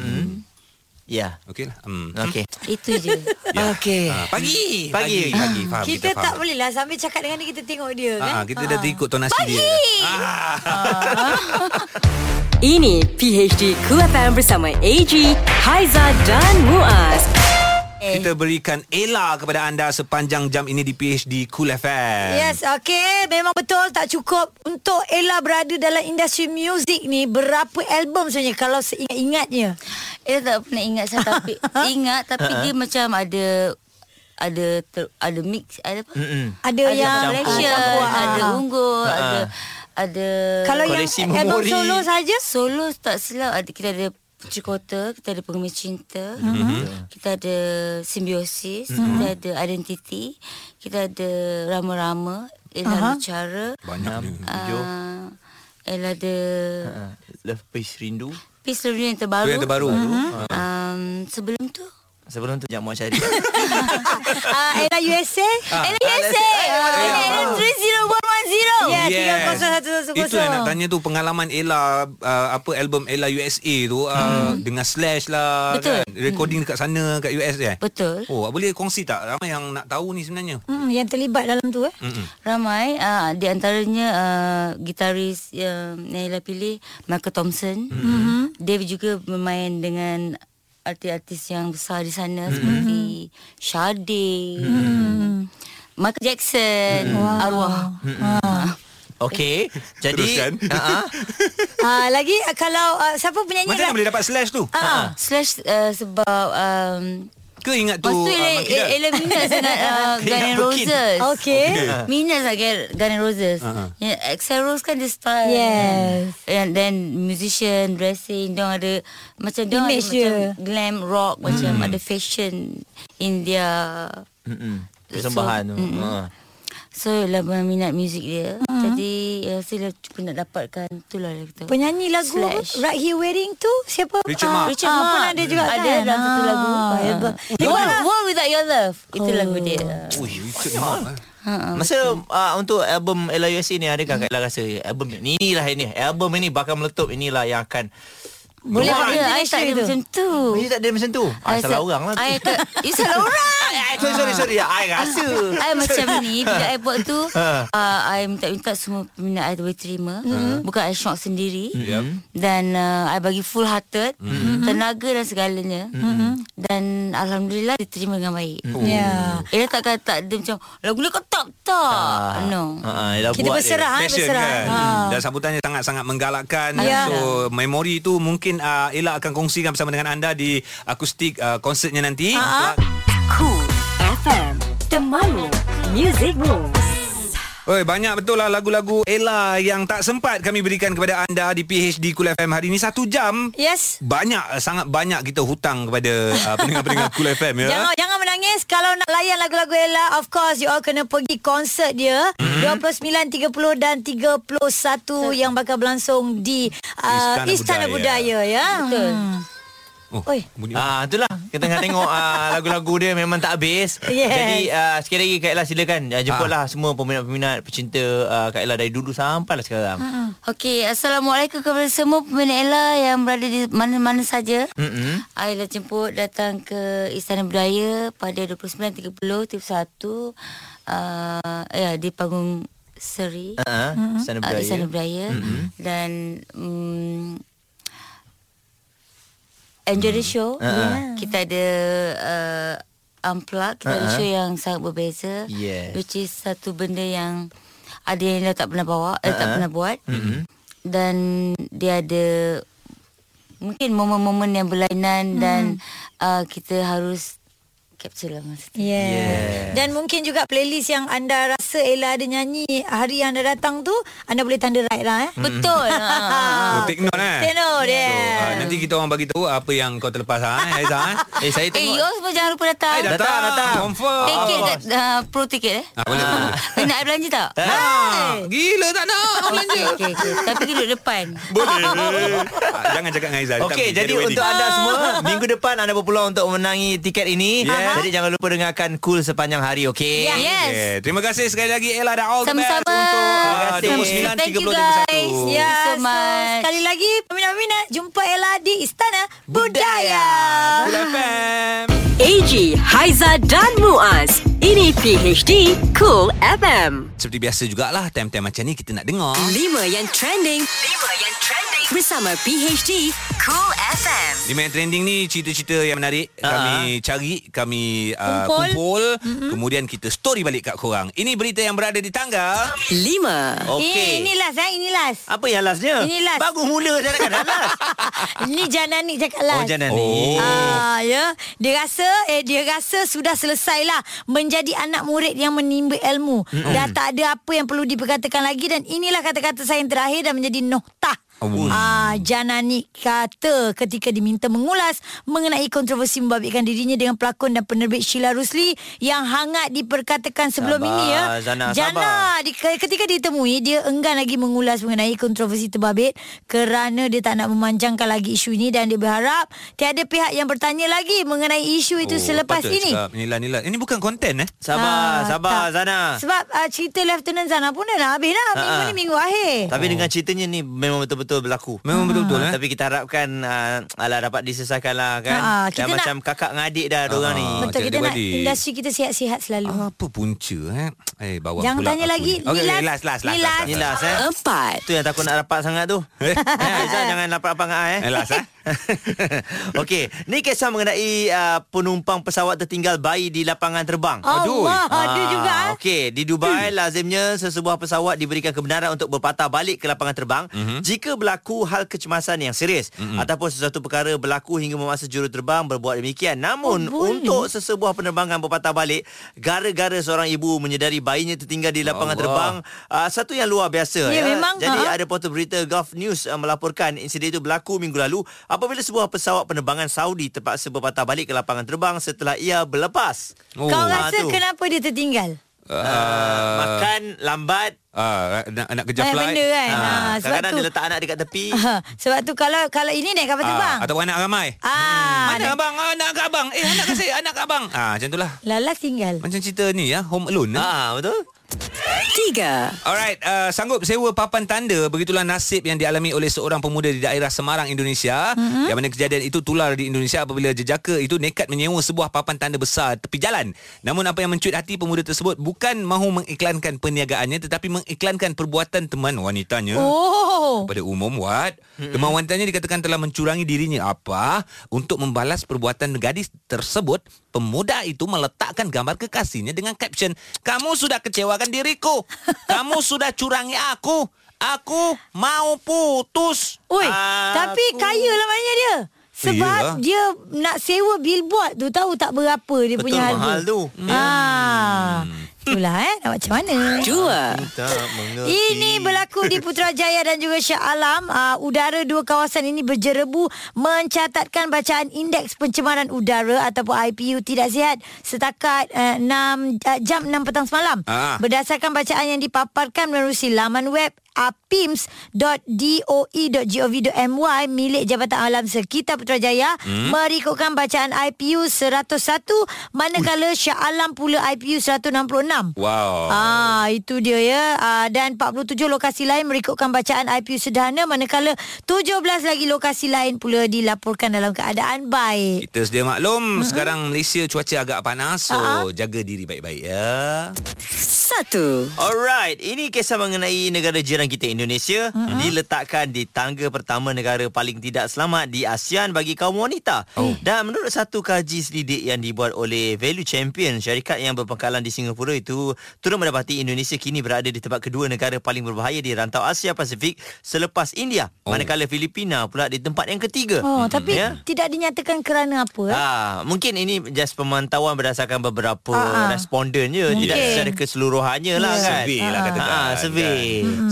[SPEAKER 3] Ya.
[SPEAKER 1] Okey lah. Hmm.
[SPEAKER 3] Okey.
[SPEAKER 5] Itu je.
[SPEAKER 3] Okey.
[SPEAKER 1] Ah, pagi.
[SPEAKER 3] Pagi.
[SPEAKER 1] Pagi. Ah. Pagi. Faham,
[SPEAKER 2] Kita,
[SPEAKER 1] faham.
[SPEAKER 2] tak boleh lah sambil cakap dengan dia kita tengok dia kan.
[SPEAKER 1] Ah, kita dah terikut tonasi dia. Ah.
[SPEAKER 4] Ini PHD Cool FM bersama AG, Haiza dan Muaz.
[SPEAKER 1] Kita berikan Ella kepada anda sepanjang jam ini di PHD Cool FM.
[SPEAKER 2] Yes, okay. Memang betul tak cukup. Untuk Ella berada dalam industri muzik ni, berapa album sebenarnya kalau seingat-ingatnya?
[SPEAKER 5] Ella Eh, tak pernah ingat saya tapi ingat tapi dia macam ada ada ter, ada mix ada apa?
[SPEAKER 3] Mm-mm.
[SPEAKER 2] Ada,
[SPEAKER 5] Ada
[SPEAKER 2] yang
[SPEAKER 5] Malaysia,
[SPEAKER 2] Ah, Papua.
[SPEAKER 5] ada
[SPEAKER 2] Ah.
[SPEAKER 5] unggul, ada ada
[SPEAKER 2] Kalau yang
[SPEAKER 3] Koleksi
[SPEAKER 2] album
[SPEAKER 3] memori.
[SPEAKER 2] solo saja?
[SPEAKER 5] solo tak silap ada kita ada Putri Kota, kita ada Pengemis Cinta, mm-hmm. kita ada Simbiosis, mm-hmm. kita ada Identity, kita ada Rama-Rama, Ella uh-huh. Bicara,
[SPEAKER 1] Banyaknya.
[SPEAKER 3] Tujuh.
[SPEAKER 5] uh, Ella ada
[SPEAKER 3] Ah, Love Peace Rindu.
[SPEAKER 5] Peace Love You yang
[SPEAKER 1] Itu
[SPEAKER 5] terbaru.
[SPEAKER 1] yang terbaru. Ah.
[SPEAKER 5] Um, sebelum tu
[SPEAKER 3] Sebelum tu Jamuan Syari.
[SPEAKER 2] Ah, Ella USA?
[SPEAKER 5] Ella USA
[SPEAKER 2] Ah,
[SPEAKER 3] Ella-
[SPEAKER 5] Ella 30117
[SPEAKER 2] Ya,
[SPEAKER 1] Yes.
[SPEAKER 2] 30110.
[SPEAKER 1] Itu yang nak tanya tu Pengalaman Ella uh, Apa album Ella USA tu uh, Dengan Slash lah
[SPEAKER 5] Betul.
[SPEAKER 1] kan? Recording dekat sana Kat US eh
[SPEAKER 5] Betul.
[SPEAKER 1] Oh boleh kongsi tak Ramai yang nak tahu ni sebenarnya
[SPEAKER 2] Hmm, yang terlibat dalam tu eh.
[SPEAKER 5] Ramai uh, Di antaranya uh, Gitaris uh, Yang Ella pilih Michael Thompson mm-hmm. Dia juga bermain dengan Artis-artis yang besar di sana mm-hmm. Seperti Sade mm-hmm. Michael Jackson mm-hmm. Arwah
[SPEAKER 3] Okey. Jadi
[SPEAKER 1] Teruskan.
[SPEAKER 3] uh-uh.
[SPEAKER 2] Ah, lagi ah, kalau ah, siapa penyanyi
[SPEAKER 1] Macam mana
[SPEAKER 2] lah?
[SPEAKER 1] boleh dapat Slash tu
[SPEAKER 5] ah. Slash uh, sebab um,
[SPEAKER 1] Ke ingat tu
[SPEAKER 5] Lepas tu
[SPEAKER 1] uh,
[SPEAKER 5] ah,
[SPEAKER 1] Mak
[SPEAKER 5] Ella,
[SPEAKER 1] Kidal?
[SPEAKER 5] Ella minat sangat uh,
[SPEAKER 3] Ingat
[SPEAKER 5] Guns N'
[SPEAKER 3] Bukit.
[SPEAKER 5] Roses
[SPEAKER 2] Okey.
[SPEAKER 5] Minat lah Gar- Garden Roses
[SPEAKER 1] Ah, ah.
[SPEAKER 5] uh-huh. yeah, Axel Rose kan dia style
[SPEAKER 2] Yes.
[SPEAKER 5] And then musician Dressing Diorang ada Macam diorang ada macam
[SPEAKER 2] Image dia.
[SPEAKER 5] Glam rock Macam ada fashion In their
[SPEAKER 3] Mm-mm. Persembahan tu.
[SPEAKER 5] Mm-mm.
[SPEAKER 3] Ha.
[SPEAKER 5] So lah minat muzik dia
[SPEAKER 2] Hmm.
[SPEAKER 5] Jadi uh, Saya lah cukup nak dapatkan Itulah dia kata
[SPEAKER 2] Penyanyi lagu apa?
[SPEAKER 5] Slash.
[SPEAKER 2] Right Here Wearing tu siapa?
[SPEAKER 1] Richard
[SPEAKER 2] Ah,
[SPEAKER 1] Mark.
[SPEAKER 5] Richard
[SPEAKER 2] ah,
[SPEAKER 5] Mark
[SPEAKER 2] Pernah ada juga
[SPEAKER 5] Ada
[SPEAKER 2] kan?
[SPEAKER 5] dalam satu
[SPEAKER 2] Ah,
[SPEAKER 5] lagu
[SPEAKER 2] hebat.
[SPEAKER 5] Ah. World, World Without Your Love Itu
[SPEAKER 2] Oh.
[SPEAKER 5] lagu dia
[SPEAKER 1] Ui, Richard Mark eh.
[SPEAKER 5] Ah,
[SPEAKER 3] Masa uh, untuk album Ella USA ni adakah Kak Ella rasa album ni inilah ini album ini bakal meletup inilah yang akan
[SPEAKER 5] Boleh lah
[SPEAKER 3] Wah,
[SPEAKER 5] ada I
[SPEAKER 2] international
[SPEAKER 5] tak ada
[SPEAKER 2] tu.
[SPEAKER 5] macam tu
[SPEAKER 3] Ini tak ada macam tu. Ah,
[SPEAKER 5] I
[SPEAKER 3] salah
[SPEAKER 5] sa-
[SPEAKER 3] orang lah.
[SPEAKER 5] I, ke- you salah orang
[SPEAKER 3] I, sorry, sorry, sorry. I rasa.
[SPEAKER 5] I macam ni Bila I buat tu
[SPEAKER 3] Ha.
[SPEAKER 5] uh, I minta-minta semua Peminat I boleh terima Bukan I shock sendiri
[SPEAKER 1] Yep.
[SPEAKER 5] Dan uh, I bagi full hearted Tenaga dan segalanya Hmm. Dan Alhamdulillah Diterima dengan baik
[SPEAKER 1] Hmm.
[SPEAKER 5] Uh,
[SPEAKER 2] Ya.
[SPEAKER 5] Ella takkan tak Dia macam Lagu ni kau tak Tak No
[SPEAKER 3] Ha, Ella
[SPEAKER 2] Kita
[SPEAKER 3] buat
[SPEAKER 2] berserah,
[SPEAKER 3] dia.
[SPEAKER 2] ah,
[SPEAKER 1] Passion
[SPEAKER 2] berserah.
[SPEAKER 1] kan
[SPEAKER 2] Ha.
[SPEAKER 1] Dan sambutannya sangat-sangat menggalakkan
[SPEAKER 2] Ya.
[SPEAKER 1] So memori tu mungkin uh, Ella akan kongsikan bersama dengan anda Di akustik uh, konsertnya nanti
[SPEAKER 2] Ha-ha.
[SPEAKER 4] Cool FM Temanmu Music Moves
[SPEAKER 1] Oi, banyak betul lah lagu-lagu Ella yang tak sempat kami berikan kepada anda di PHD Cool FM hari ini. Satu jam.
[SPEAKER 2] Yes.
[SPEAKER 1] Banyak, ah, sangat banyak kita hutang kepada uh, pendengar-pendengar Cool FM ya.
[SPEAKER 2] Jangan jangan menangis kalau nak layan lagu-lagu Ella of course you all kena pergi konsert dia mm-hmm. 29 30 dan 31 yang bakal berlangsung di uh,
[SPEAKER 1] Istana
[SPEAKER 2] Istana, Istana
[SPEAKER 1] Budaya.
[SPEAKER 2] Budaya. ya.
[SPEAKER 5] Betul.
[SPEAKER 1] Oh,
[SPEAKER 2] Oi.
[SPEAKER 1] bunyi apa?
[SPEAKER 3] Ah itulah kita tengah tengok ah, lagu-lagu dia memang tak habis.
[SPEAKER 2] Yes.
[SPEAKER 3] Jadi ah, sekali lagi Kak Ella silakan ah, jemputlah semua peminat-peminat pecinta ah, Kak Ella dari dulu sampailah sekarang.
[SPEAKER 5] Okey, Assalamualaikum kepada semua peminat Ella yang berada di mana-mana saja.
[SPEAKER 2] Ah.
[SPEAKER 3] Mm-mm.
[SPEAKER 5] Saya dah jemput datang ke Istana Budaya pada 29.30 31 uh, ya di panggung Seri
[SPEAKER 3] Ha. Uh-huh. Sana
[SPEAKER 2] Ah,
[SPEAKER 5] uh,
[SPEAKER 3] budaya.
[SPEAKER 5] Istana Budaya mm-hmm. dan um, enjoy
[SPEAKER 3] Mm.
[SPEAKER 5] the show.
[SPEAKER 3] Ah,
[SPEAKER 5] ya.
[SPEAKER 3] Ha-ha.
[SPEAKER 5] Kita ada uh, unplug, kita ada
[SPEAKER 3] Ha-ha.
[SPEAKER 5] show yang sangat berbeza
[SPEAKER 3] Ah, Yes.
[SPEAKER 5] which is satu benda yang ada yang dia tak pernah bawa,
[SPEAKER 3] Ah,
[SPEAKER 5] uh tak pernah buat. Mm-hmm. Dan dia ada mungkin momen-momen yang
[SPEAKER 3] Mm-hmm.
[SPEAKER 5] berlainan dan uh, kita harus capture lah masa tu.
[SPEAKER 2] Yeah.
[SPEAKER 3] Yes.
[SPEAKER 2] Dan mungkin juga playlist yang anda rasa Ella ada nyanyi hari yang anda datang tu anda boleh tanda right lah eh.
[SPEAKER 5] Betul.
[SPEAKER 1] Oh,
[SPEAKER 5] ha.
[SPEAKER 1] take note eh.
[SPEAKER 2] Take note,
[SPEAKER 1] So,
[SPEAKER 2] yeah.
[SPEAKER 1] ah, nanti kita orang bagi tahu apa yang kau terlepas ha, Aiza. eh.
[SPEAKER 3] Eh saya
[SPEAKER 5] Eh,
[SPEAKER 3] tengok
[SPEAKER 5] you all semua jangan lupa datang.
[SPEAKER 1] Eh, datang, datang.
[SPEAKER 3] Datang, datang.
[SPEAKER 1] Confirm.
[SPEAKER 5] Tiket kat uh, pro tiket eh.
[SPEAKER 1] Ah, boleh, boleh.
[SPEAKER 5] Kena nak belanja tak? Ha?
[SPEAKER 1] Ah, gila tak nak orang belanja.
[SPEAKER 5] Okey, okey, okey. Tapi kita duduk depan.
[SPEAKER 1] Boleh. Ah, Jangan cakap dengan Aiza.
[SPEAKER 3] Okey, jadi untuk
[SPEAKER 2] Ah.
[SPEAKER 3] anda semua minggu depan anda berpeluang untuk menangi tiket ini.
[SPEAKER 1] Yeah.
[SPEAKER 3] Jadi jangan lupa dengarkan cool sepanjang hari, okey?
[SPEAKER 2] Ya.
[SPEAKER 5] Yeah. Yes.
[SPEAKER 1] Okay. Terima kasih sekali lagi Ella dan all
[SPEAKER 5] Sama-sama.
[SPEAKER 1] the best
[SPEAKER 3] Terima
[SPEAKER 1] untuk ah,
[SPEAKER 3] kasih.
[SPEAKER 1] uh, 29,
[SPEAKER 5] Thank you
[SPEAKER 1] 30, 31.
[SPEAKER 5] guys. Yeah.
[SPEAKER 2] Ya,
[SPEAKER 5] Thank you so much.
[SPEAKER 2] sekali lagi peminat-peminat jumpa Ella di Istana Budaya.
[SPEAKER 1] Cool FM.
[SPEAKER 4] AG, Haiza dan Muaz Ini PHD Cool FM
[SPEAKER 1] Seperti biasa jugalah Time-time macam ni kita nak dengar
[SPEAKER 4] 5 yang trending 5 yang trending Bersama PHD Cool FM
[SPEAKER 1] Di main trending ni Cerita-cerita yang menarik Kami cari Kami uh, kumpul,
[SPEAKER 2] Kumpul.
[SPEAKER 1] kumpul. Mm-hmm. Kemudian kita story balik kat korang Ini berita yang berada di tanggal
[SPEAKER 4] 5
[SPEAKER 3] Okey.
[SPEAKER 2] Eh, ini last eh, ini last.
[SPEAKER 3] Apa yang lastnya?
[SPEAKER 2] Ini last.
[SPEAKER 3] Bagus mula saya nak kata last.
[SPEAKER 2] Ini Janani cakap last.
[SPEAKER 3] Oh, jangan
[SPEAKER 1] Oh.
[SPEAKER 3] ni.
[SPEAKER 2] Ah, ya. Dia rasa eh dia rasa sudah selesailah menjadi anak murid yang menimba ilmu. Mm-hmm. Dah tak ada apa yang perlu diperkatakan lagi dan inilah kata-kata saya yang terakhir dan menjadi noktah
[SPEAKER 1] Oh.
[SPEAKER 2] Ah, Janani kata ketika diminta mengulas mengenai kontroversi membabitkan dirinya dengan pelakon dan penerbit Sheila Rusli yang hangat diperkatakan sebelum
[SPEAKER 3] Sabar,
[SPEAKER 2] ini ya.
[SPEAKER 3] Zana,
[SPEAKER 2] Jana
[SPEAKER 3] sabar.
[SPEAKER 2] Ah, di, ketika ditemui dia enggan lagi mengulas mengenai kontroversi terbabit kerana dia tak nak memanjangkan lagi isu ini dan dia berharap tiada pihak yang bertanya lagi mengenai isu itu oh, selepas
[SPEAKER 1] patut
[SPEAKER 2] ini.
[SPEAKER 1] Cakap, nilai-nilai. Ini bukan konten eh.
[SPEAKER 3] Sabar,
[SPEAKER 2] Ah,
[SPEAKER 3] sabar
[SPEAKER 2] tak.
[SPEAKER 3] Zana.
[SPEAKER 2] Sebab uh, cerita Lieutenant Zana pun dah nak habis dah. Minggu
[SPEAKER 3] Ha-ha.
[SPEAKER 2] ni minggu akhir.
[SPEAKER 3] Tapi oh. dengan ceritanya ni memang betul-betul berlaku.
[SPEAKER 1] Eh.
[SPEAKER 2] Hmm.
[SPEAKER 1] Memang betul-betul, eh?
[SPEAKER 3] Tapi kita harapkan uh, alah dapat diselesaikan lah kan.
[SPEAKER 2] Ha,
[SPEAKER 3] Ha,
[SPEAKER 2] kita
[SPEAKER 3] Dah
[SPEAKER 2] nak-
[SPEAKER 3] macam kakak dengan adik dah ha. orang ni.
[SPEAKER 1] Ah,
[SPEAKER 2] Betul
[SPEAKER 1] cakap
[SPEAKER 2] kita
[SPEAKER 1] dia Ah.
[SPEAKER 2] nak
[SPEAKER 1] balik.
[SPEAKER 2] industri kita sihat-sihat selalu.
[SPEAKER 1] Apa punca eh? Eh bawa
[SPEAKER 2] Jangan
[SPEAKER 1] pula
[SPEAKER 2] tanya
[SPEAKER 1] aku
[SPEAKER 2] lagi.
[SPEAKER 1] ni. Okey,
[SPEAKER 2] Ni
[SPEAKER 1] okey,
[SPEAKER 2] last-
[SPEAKER 1] last last last.
[SPEAKER 2] ni
[SPEAKER 1] last,
[SPEAKER 3] Ni
[SPEAKER 1] last.
[SPEAKER 3] last eh.
[SPEAKER 4] Empat.
[SPEAKER 3] Tu yang takut nak rapat sangat tu.
[SPEAKER 1] Eh?
[SPEAKER 3] eh, Aizah jangan rapat-rapat dengan I eh.
[SPEAKER 1] Eh, last, eh?
[SPEAKER 3] Okey, ni kisah mengenai uh, penumpang pesawat tertinggal bayi di lapangan terbang.
[SPEAKER 1] Aduh.
[SPEAKER 2] Allah, ada
[SPEAKER 3] Ah.
[SPEAKER 2] juga. eh. Hmm.
[SPEAKER 3] Okey, di Dubai lazimnya sesebuah pesawat diberikan kebenaran untuk berpatah balik ke lapangan terbang mm-hmm. jika berlaku hal kecemasan yang serius mm-hmm. ataupun sesuatu perkara berlaku hingga memaksa juruterbang berbuat demikian. Namun
[SPEAKER 2] Oh,
[SPEAKER 3] oh,
[SPEAKER 2] boleh.
[SPEAKER 3] untuk sesebuah penerbangan berpatah balik gara-gara seorang ibu menyedari bayinya tertinggal di lapangan
[SPEAKER 1] Allah.
[SPEAKER 3] Allah. terbang, uh, satu yang luar biasa
[SPEAKER 2] Ya,
[SPEAKER 3] ya.
[SPEAKER 2] memang,
[SPEAKER 3] Jadi
[SPEAKER 2] ha.
[SPEAKER 3] ada portal berita Gulf News uh, melaporkan insiden itu berlaku minggu lalu apabila sebuah pesawat penerbangan Saudi terpaksa berpatah balik ke lapangan terbang setelah ia berlepas.
[SPEAKER 1] Oh.
[SPEAKER 2] Kau
[SPEAKER 1] Ah,
[SPEAKER 2] rasa
[SPEAKER 3] tu.
[SPEAKER 2] kenapa dia tertinggal? Ah,
[SPEAKER 3] Uh, makan lambat
[SPEAKER 1] Ah, nak, nak kejar
[SPEAKER 2] Banyak
[SPEAKER 1] flight. Ah.
[SPEAKER 2] benda kan.
[SPEAKER 3] Ha,
[SPEAKER 2] Ha, sebab
[SPEAKER 3] kadang-kadang
[SPEAKER 2] tu
[SPEAKER 3] dia letak anak dekat tepi.
[SPEAKER 2] Ha, sebab tu kalau kalau ini naik kapal terbang.
[SPEAKER 1] Ah, ataupun anak ramai.
[SPEAKER 2] Ah,
[SPEAKER 1] Mana abang? Ah, anak kat abang. Eh, anak kat saya, anak kat abang. Ah, macam itulah.
[SPEAKER 2] Lala tinggal.
[SPEAKER 1] Macam cerita ni ya, Home Alone. eh.
[SPEAKER 3] Ah, betul.
[SPEAKER 4] Tiga.
[SPEAKER 1] Alright, uh, sanggup sewa papan tanda begitulah nasib yang dialami oleh seorang pemuda di daerah Semarang, Indonesia mm-hmm. yang mana kejadian itu tular di Indonesia apabila jejaka itu nekat menyewa sebuah papan tanda besar tepi jalan. Namun apa yang mencuit hati pemuda tersebut bukan mahu mengiklankan perniagaannya tetapi mengiklankan perbuatan teman wanitanya.
[SPEAKER 2] Oh.
[SPEAKER 1] Pada umum Wat Kemauan wanitanya dikatakan telah mencurangi dirinya Apa Untuk membalas perbuatan gadis tersebut Pemuda itu meletakkan gambar kekasihnya dengan caption Kamu sudah kecewakan diriku Kamu sudah curangi aku Aku mau putus
[SPEAKER 2] Oi,
[SPEAKER 3] Aku-
[SPEAKER 2] tapi kaya lah maknanya dia. Sebab
[SPEAKER 1] Iyalah.
[SPEAKER 2] dia nak sewa billboard tu tahu tak berapa dia
[SPEAKER 3] Betul
[SPEAKER 2] punya harga.
[SPEAKER 3] mahal tu. Hmm.
[SPEAKER 2] Ah. Itulah eh nak macam mana.
[SPEAKER 4] Dua.
[SPEAKER 3] Tak mengerti.
[SPEAKER 2] Ini berlaku di Putrajaya dan juga Shah Alam. Uh, udara dua kawasan ini berjerebu mencatatkan bacaan indeks pencemaran udara ataupun IPU tidak sihat setakat uh, 6 uh, jam 6 petang semalam.
[SPEAKER 1] Ah.
[SPEAKER 2] Berdasarkan bacaan yang dipaparkan melalui laman web E apims.doe.gov.my milik Jabatan Alam Sekitar Putrajaya hmm? merikutkan bacaan IPU 101 manakala Shah Alam pula IPU 166.
[SPEAKER 1] Wow
[SPEAKER 2] Ah itu dia ya. Ah, dan 47 lokasi lain merikutkan bacaan IPU sederhana manakala 17 lagi lokasi lain pula dilaporkan dalam keadaan baik.
[SPEAKER 1] Kita sedia maklum Sekarang Malaysia cuaca agak panas So jaga diri baik-baik ya
[SPEAKER 4] Satu.
[SPEAKER 3] Alright, ini kisah mengenai negara jiran kita Indonesia mm-hmm. diletakkan di tangga pertama negara paling tidak selamat di ASEAN bagi kaum wanita. Oh. Dan menurut satu kaji selidik yang dibuat oleh Value Champion, syarikat yang berpangkalan di Singapura itu turut mendapati Indonesia kini berada di tempat kedua negara paling berbahaya di rantau Asia Pasifik selepas India. Oh. Manakala Filipina pula di tempat yang ketiga.
[SPEAKER 2] Oh tapi
[SPEAKER 3] Ya.
[SPEAKER 2] tidak dinyatakan kerana apa. eh?
[SPEAKER 3] Ah, mungkin ini just pemantauan berdasarkan beberapa
[SPEAKER 2] Ah, ah.
[SPEAKER 3] responden je, tidak
[SPEAKER 2] Mungkin.
[SPEAKER 3] secara keseluruhannya lah kan.
[SPEAKER 1] Survey lah katakan
[SPEAKER 3] Ah, survey.
[SPEAKER 2] Hmm.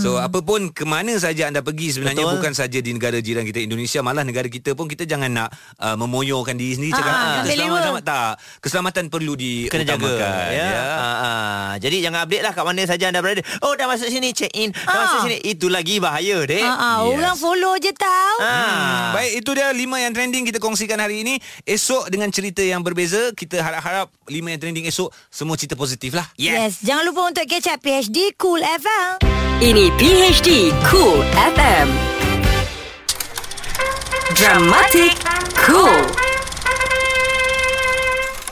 [SPEAKER 1] kan. So apa pun ke mana saja anda pergi sebenarnya Betul. bukan
[SPEAKER 3] Betul.
[SPEAKER 1] saja di negara jiran kita Indonesia malah negara kita pun kita jangan nak uh, memoyorkan diri sendiri cakap
[SPEAKER 2] Ah,
[SPEAKER 1] ah,
[SPEAKER 2] jangan
[SPEAKER 1] kita selamat,
[SPEAKER 2] lewa."
[SPEAKER 1] selamat tak. Keselamatan perlu di
[SPEAKER 3] kena jaga
[SPEAKER 1] utamakan,
[SPEAKER 3] ya. Ha, ha. Jadi jangan update lah kat mana saja anda berada. Oh dah masuk sini check in, dah
[SPEAKER 2] Ah.
[SPEAKER 3] masuk sini itu lagi bahaya dek.
[SPEAKER 2] Ah, ah,
[SPEAKER 6] Ya.
[SPEAKER 1] yes.
[SPEAKER 2] orang follow je tahu.
[SPEAKER 3] Ah.
[SPEAKER 6] Hmm.
[SPEAKER 1] Baik itu dia lima yang trending kita kongsikan hari ini. Esok dengan cerita yang berbeza kita harap-harap lima yang trending esok semua cerita positif lah.
[SPEAKER 3] Ya.
[SPEAKER 2] Yes. yes, jangan lupa untuk catch up PHD Cool FM.
[SPEAKER 4] Ini PHD Cool FM. Dramatic Cool.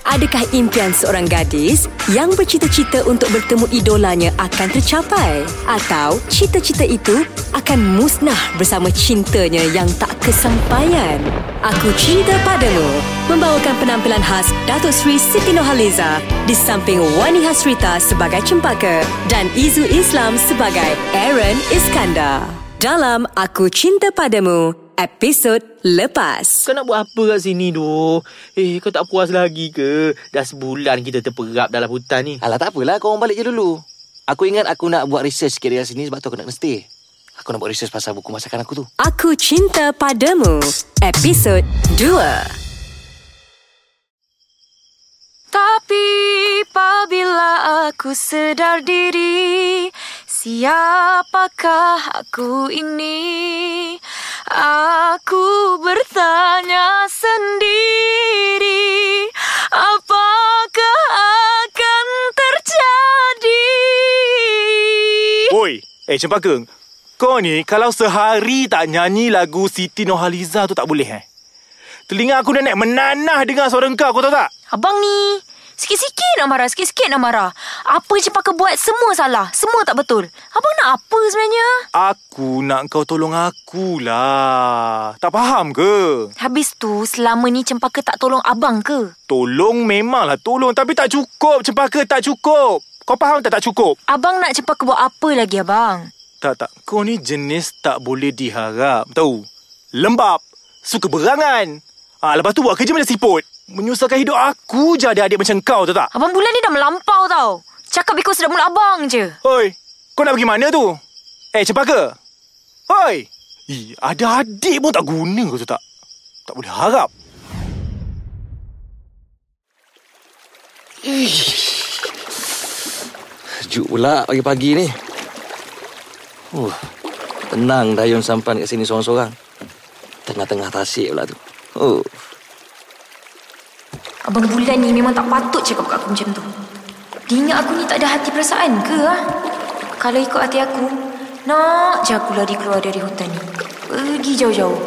[SPEAKER 4] Adakah impian seorang gadis yang bercita-cita untuk bertemu idolanya akan tercapai? Atau cita-cita itu akan musnah bersama cintanya yang tak kesampaian? Aku Cinta Padamu membawakan penampilan khas Dato' Sri Siti Nohaliza di samping Wani Hasrita sebagai Cempaka dan Izu Islam sebagai Aaron Iskandar. Dalam Aku Cinta Padamu, episod lepas.
[SPEAKER 6] Kau nak buat apa kat sini doh? Eh, kau tak puas lagi ke? Dah sebulan kita terperap dalam hutan ni.
[SPEAKER 7] Alah tak apalah korang balik je dulu. Aku ingat aku nak buat research sikit dekat sini sebab tu aku nak mesti.
[SPEAKER 6] Aku nak buat research pasal buku masakan aku tu.
[SPEAKER 4] Aku Cinta Padamu Episod 2
[SPEAKER 7] Tapi apabila aku sedar diri Siapakah aku ini Aku bertanya sendiri Apakah akan terjadi
[SPEAKER 8] Oi, eh Cempaka, kau ni kalau sehari tak nyanyi lagu Siti Nohaliza tu tak boleh eh. Telinga aku dah naik menanah dengar suara kau, kau tahu tak?
[SPEAKER 7] Abang ni Sikit-sikit nak marah Sikit-sikit nak marah Apa je pakai buat Semua salah Semua tak betul Abang nak apa sebenarnya
[SPEAKER 8] Aku nak kau tolong akulah. Tak faham ke?
[SPEAKER 7] Habis tu Selama ni Cempaka tak tolong abang ke
[SPEAKER 8] Tolong memanglah tolong tapi tak cukup Cempaka tak cukup. Kau faham tak tak cukup?
[SPEAKER 7] Abang nak Cempaka buat apa lagi abang
[SPEAKER 8] Tak tak, kau ni jenis tak boleh diharap. Tahu? Lembab, suka berangan. Ah ha, lepas tu buat kerja macam siput. Menyusahkan hidup aku je ada adik macam kau tahu tak?
[SPEAKER 7] Abang Bulan ni dah melampau tau Cakap ikut sedap mulut abang je
[SPEAKER 8] Hoi, kau nak pergi mana tu? Eh, Cempaka. Hoi. Ih, ada adik pun tak guna kau tu tak. Tak boleh harap.
[SPEAKER 9] Sejuk pula pagi-pagi ni. Uh, tenang Dayun sampan kat sini seorang-seorang. Tengah-tengah tasik pula tu. Oh,
[SPEAKER 7] Abang Bulan ni memang tak patut cakap kat aku macam tu Dia ingat aku ni tak ada hati perasaan ke ha? Kalau ikut hati aku Nak je aku lari keluar dari hutan ni Pergi jauh-jauh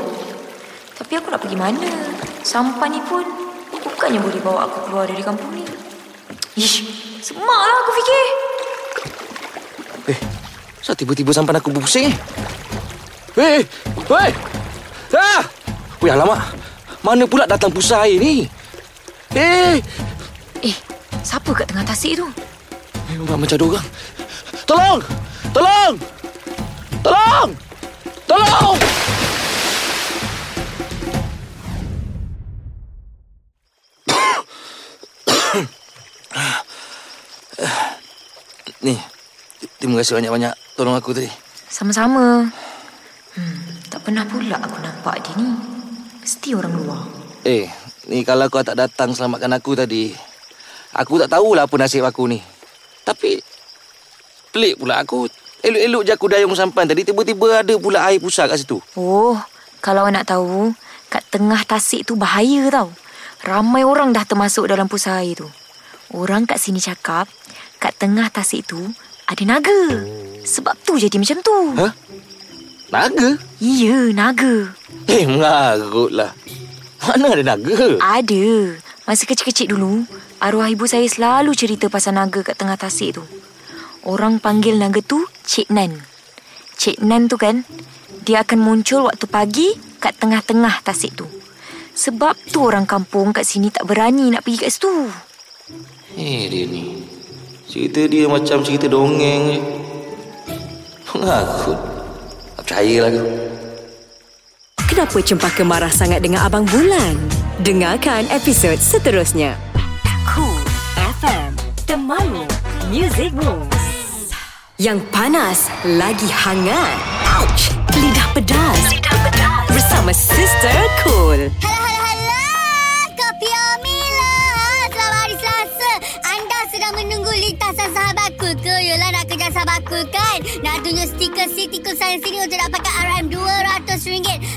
[SPEAKER 7] Tapi aku nak pergi mana Sampah ni pun Bukannya boleh bawa aku keluar dari kampung ni Ish, semak lah aku fikir
[SPEAKER 9] eh. Kenapa tiba-tiba sampan aku berpusing eh? Eh, eh. Ah! Weh, alamak. Mana pula datang pusat air ni? Eh,
[SPEAKER 7] Eh, siapa kat tengah tasik tu?
[SPEAKER 9] memang macam ada orang. Tolong! Tolong! Tolong! Tolong! Ni, terima kasih banyak-banyak tolong aku tadi.
[SPEAKER 7] Sama-sama hmm, Tak pernah pula aku nampak dia ni Mesti orang luar
[SPEAKER 9] Eh, ni kalau kau tak datang selamatkan aku tadi, aku tak tahulah apa nasib aku ni. Tapi, pelik pula aku. Elok-elok je aku dayung sampan tadi, tiba-tiba ada pula air pusat kat situ.
[SPEAKER 7] Oh, kalau awak nak tahu, kat tengah tasik tu bahaya tau. Ramai orang dah termasuk dalam pusat air tu. Orang kat sini cakap, kat tengah tasik tu ada naga. Sebab tu jadi macam tu.
[SPEAKER 9] Hah? Naga?
[SPEAKER 7] Ya, naga.
[SPEAKER 9] Eh, mengarut lah. Mana ada naga?
[SPEAKER 7] Ada. Masa kecil-kecil dulu, arwah ibu saya selalu cerita pasal naga kat tengah tasik tu. Orang panggil naga tu Cik Nan. Cik Nan tu kan, dia akan muncul waktu pagi kat tengah-tengah tasik tu. Sebab tu orang kampung kat sini tak berani nak pergi kat situ.
[SPEAKER 9] Eh, dia ni. Cerita dia macam cerita dongeng je. Mengarut. Tak percayalah kau.
[SPEAKER 4] Kenapa Cempaka marah sangat dengan Abang Bulan? Dengarkan episod seterusnya. Cool FM Temanmu Music Moves Yang panas Lagi hangat Ouch Lidah pedas Lidah pedas Bersama Sister Cool
[SPEAKER 10] Halo, halo, halo. Kopi Omila. Selamat hari Selasa. Eh, Anda sedang menunggu lintasan sahabat cool ke? Yolah nak kejar sahabat cool kan? Nak tunjuk stiker City Cool sana sini untuk dapatkan RM200.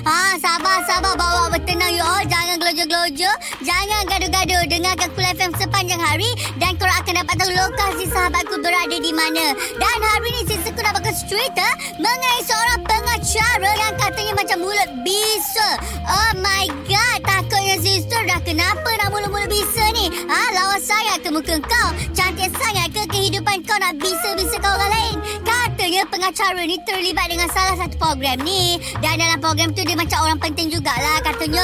[SPEAKER 10] Ha, sabar, sabar. Bawa bertenang you all. Jangan gelojo-gelojo. Jangan gaduh-gaduh. Dengarkan Cool FM sepanjang hari. Dan korang akan dapat tahu lokasi sahabat cool berada di mana. Dan hari ini Sisi Cool dapatkan cerita mengenai seorang pengacara yang katanya macam mulut bisul. Oh my god, takutnya sister dah kenapa nak mulut-mulut bisul ni? Ha, lawa sangat ke muka kau? Cantik sangat ke kehidupan kau nak bisul-bisul kau orang lain? Kan? Katanya pengacara ni terlibat dengan salah satu program ni. Dan dalam program tu dia macam orang penting jugalah katanya.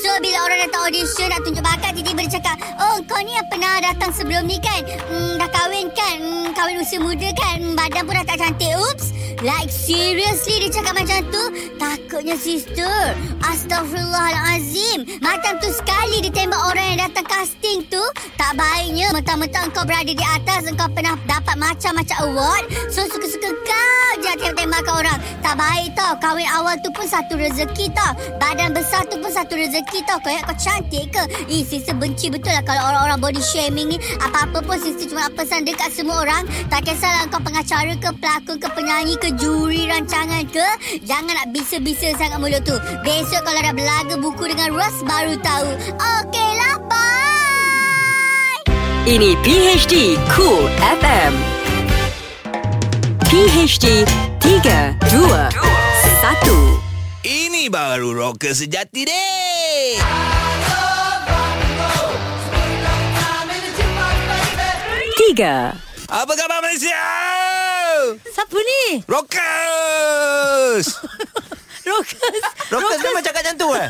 [SPEAKER 10] So, bila orang datang audition nak tunjuk bakat, tiba-tiba dia cakap, Oh, kau ni yang pernah datang sebelum ni kan? Hmm, dah kahwin kan? Hmm, kahwin usia muda kan? Hmm, badan pun dah tak cantik. Oops. Like seriously dia cakap macam tu Takutnya sister Astaghfirullahalazim Macam tu sekali dia tembak orang yang datang casting tu Tak baiknya Mentang-mentang kau berada di atas Engkau pernah dapat macam-macam award So suka-suka kau je tembak-tembakkan orang Tak baik tau Kahwin awal tu pun satu rezeki tau Badan besar tu pun satu rezeki tau Kau ingat kau cantik ke? Ih sister benci betul lah Kalau orang-orang body shaming ni Apa-apa pun sister cuma nak pesan dekat semua orang Tak kisahlah kau pengacara ke Pelakon ke penyanyi ke Juri rancangan ke Jangan nak bisa-bisa sangat mulut tu Besok kalau dah belaga buku dengan Ros Baru tahu Okeylah bye
[SPEAKER 4] Ini PHD Cool FM. PHD 3, 2, 1.
[SPEAKER 1] Ini baru rocker sejati deh.
[SPEAKER 4] Tiga,
[SPEAKER 1] Apa khabar Malaysia?
[SPEAKER 2] Siapa ni?
[SPEAKER 1] Rockers!
[SPEAKER 2] Rokas.
[SPEAKER 3] Rokas memang cakap macam tu eh?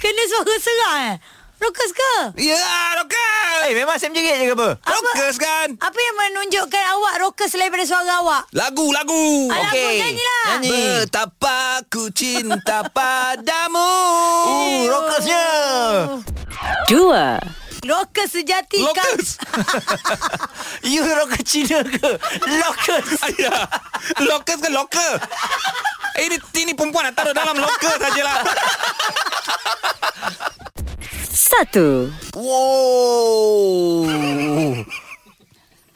[SPEAKER 2] Kena suara serang eh? Rokas ke?
[SPEAKER 1] Ya, yeah, rockers!
[SPEAKER 3] Eh, memang Sam jerit je ke apa?
[SPEAKER 1] Rockers kan?
[SPEAKER 2] Apa yang menunjukkan awak rokas selain daripada suara awak?
[SPEAKER 1] Lagu, lagu!
[SPEAKER 2] Alah,
[SPEAKER 3] okey.
[SPEAKER 2] okay. Ah, nyanyilah.
[SPEAKER 3] Nyanyi.
[SPEAKER 1] Betapa ku cinta padamu.
[SPEAKER 3] Uh,
[SPEAKER 2] Eh,
[SPEAKER 3] rokasnya.
[SPEAKER 4] dua,
[SPEAKER 2] Rokas sejati. Kak-
[SPEAKER 1] Lokus.
[SPEAKER 3] You rokas Cina ke? Lokus.
[SPEAKER 1] Ayah. Lokus ke loker? Eh, ini, ini perempuan nak taruh dalam loker sajalah.
[SPEAKER 4] satu.
[SPEAKER 3] Wow.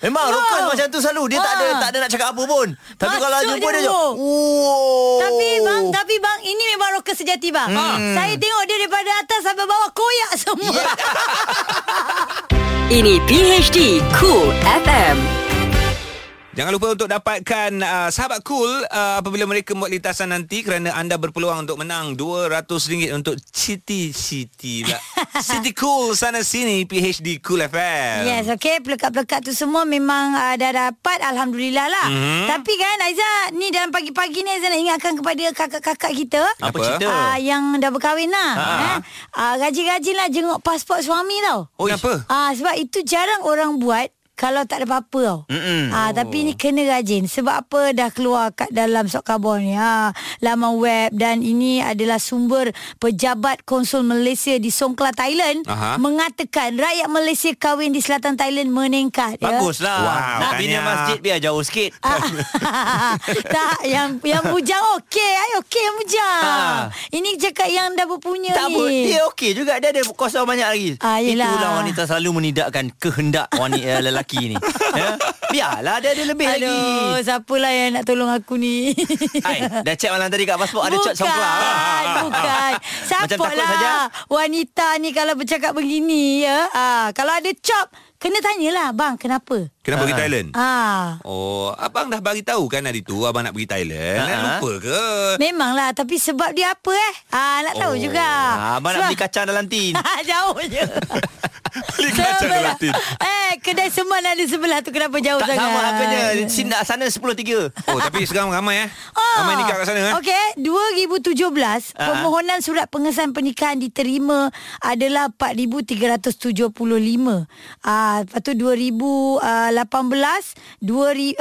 [SPEAKER 3] Memang wow. rokas macam tu selalu. Dia tak ada
[SPEAKER 2] Ah.
[SPEAKER 3] tak ada nak cakap apa pun. Tapi
[SPEAKER 2] Masuk
[SPEAKER 3] kalau jumpa
[SPEAKER 2] je
[SPEAKER 3] dia je.
[SPEAKER 2] mulut.
[SPEAKER 3] Wow.
[SPEAKER 2] Tapi bang, tapi bang, ini memang rokas sejati bang. Hmm. Saya tengok dia daripada atas sampai bawah koyak semua. Yeah.
[SPEAKER 4] Ini PHD Cool FM.
[SPEAKER 1] Jangan lupa untuk dapatkan uh, sahabat cool uh, apabila mereka buat litasan nanti kerana anda berpeluang untuk menang RM200 untuk citi-citi lah. City Cool sana sini PHD Cool FM.
[SPEAKER 2] Yes, okay. Pelekat-pelekat tu semua memang uh, dah dapat. Alhamdulillah lah.
[SPEAKER 3] Mhm.
[SPEAKER 2] Mm-hmm. Tapi kan Aiza, ni dalam pagi-pagi ni Aiza nak ingatkan kepada kakak-kakak kita.
[SPEAKER 3] Apa
[SPEAKER 1] Apa?
[SPEAKER 3] cerita?
[SPEAKER 2] Uh, yang dah berkahwin lah.
[SPEAKER 3] Ha.
[SPEAKER 2] Ha. Uh, rajin-rajin lah jenguk pasport suami tau.
[SPEAKER 1] Oh, kenapa?
[SPEAKER 2] Ah sebab itu jarang orang buat kalau tak ada apa-apa tau. Mm-mm. Ah tapi ni kena rajin sebab apa dah keluar kat dalam surat khabar ni. Ha laman web dan ini adalah sumber pejabat konsul Malaysia di Songkla Thailand
[SPEAKER 1] Aha.
[SPEAKER 2] mengatakan rakyat Malaysia kahwin di selatan Thailand meningkat ya.
[SPEAKER 3] Baguslah.
[SPEAKER 1] Wow,
[SPEAKER 3] nak
[SPEAKER 1] tanya.
[SPEAKER 3] bina masjid biar jauh sikit.
[SPEAKER 2] Ah, tak yang yang bujang okey ai okey yang bujang.
[SPEAKER 3] Ah.
[SPEAKER 2] Ini cakap yang dah berpunya
[SPEAKER 3] Tak
[SPEAKER 2] ni.
[SPEAKER 3] apa Dia okey juga Dia ada kuasa banyak lagi
[SPEAKER 2] ya, Ah, yelah.
[SPEAKER 3] Itulah wanita selalu menidakkan Kehendak wanita lelaki ni ya? Biarlah dia ada lebih lagi
[SPEAKER 2] Aduh, siapalah yang nak tolong aku ni?
[SPEAKER 3] Hai, dah cek malam tadi kat pasport ada ah?
[SPEAKER 2] bukan,
[SPEAKER 3] cek songkla.
[SPEAKER 2] Bukan.
[SPEAKER 3] Macam
[SPEAKER 2] Support
[SPEAKER 3] takut saja.
[SPEAKER 2] lah. Wanita ni kalau bercakap begini ya. Ah, kalau ada chop, kena tanyalah bang kenapa?
[SPEAKER 1] Kenapa pergi Thailand?
[SPEAKER 2] Ah.
[SPEAKER 1] Oh, abang dah bagi tahu kan hari tu abang nak pergi Thailand.
[SPEAKER 3] Ha-ha.
[SPEAKER 1] Uh-huh. Lupa ke?
[SPEAKER 2] Memanglah tapi sebab dia apa eh? Ah nak
[SPEAKER 1] Oh,
[SPEAKER 2] tahu juga.
[SPEAKER 3] Ah, abang nak
[SPEAKER 2] Sebab-
[SPEAKER 3] beli kacang dalam tin.
[SPEAKER 2] Jauh je.
[SPEAKER 1] Beli kacang
[SPEAKER 2] Sebelah-
[SPEAKER 1] gelatin.
[SPEAKER 2] Eh, kedai seman ada sebelah tu kenapa jauh
[SPEAKER 3] tak
[SPEAKER 2] sangat?
[SPEAKER 3] sama lah harganya. Sin dah sana 10.3.
[SPEAKER 1] Oh, tapi sekarang ramai eh.
[SPEAKER 2] Ah.
[SPEAKER 1] Ramai nikah kat sana eh.
[SPEAKER 2] Okey, 2017
[SPEAKER 3] Ah.
[SPEAKER 2] permohonan surat pengesahan pernikahan diterima adalah 4375. Ah, lepas tu 2018 2000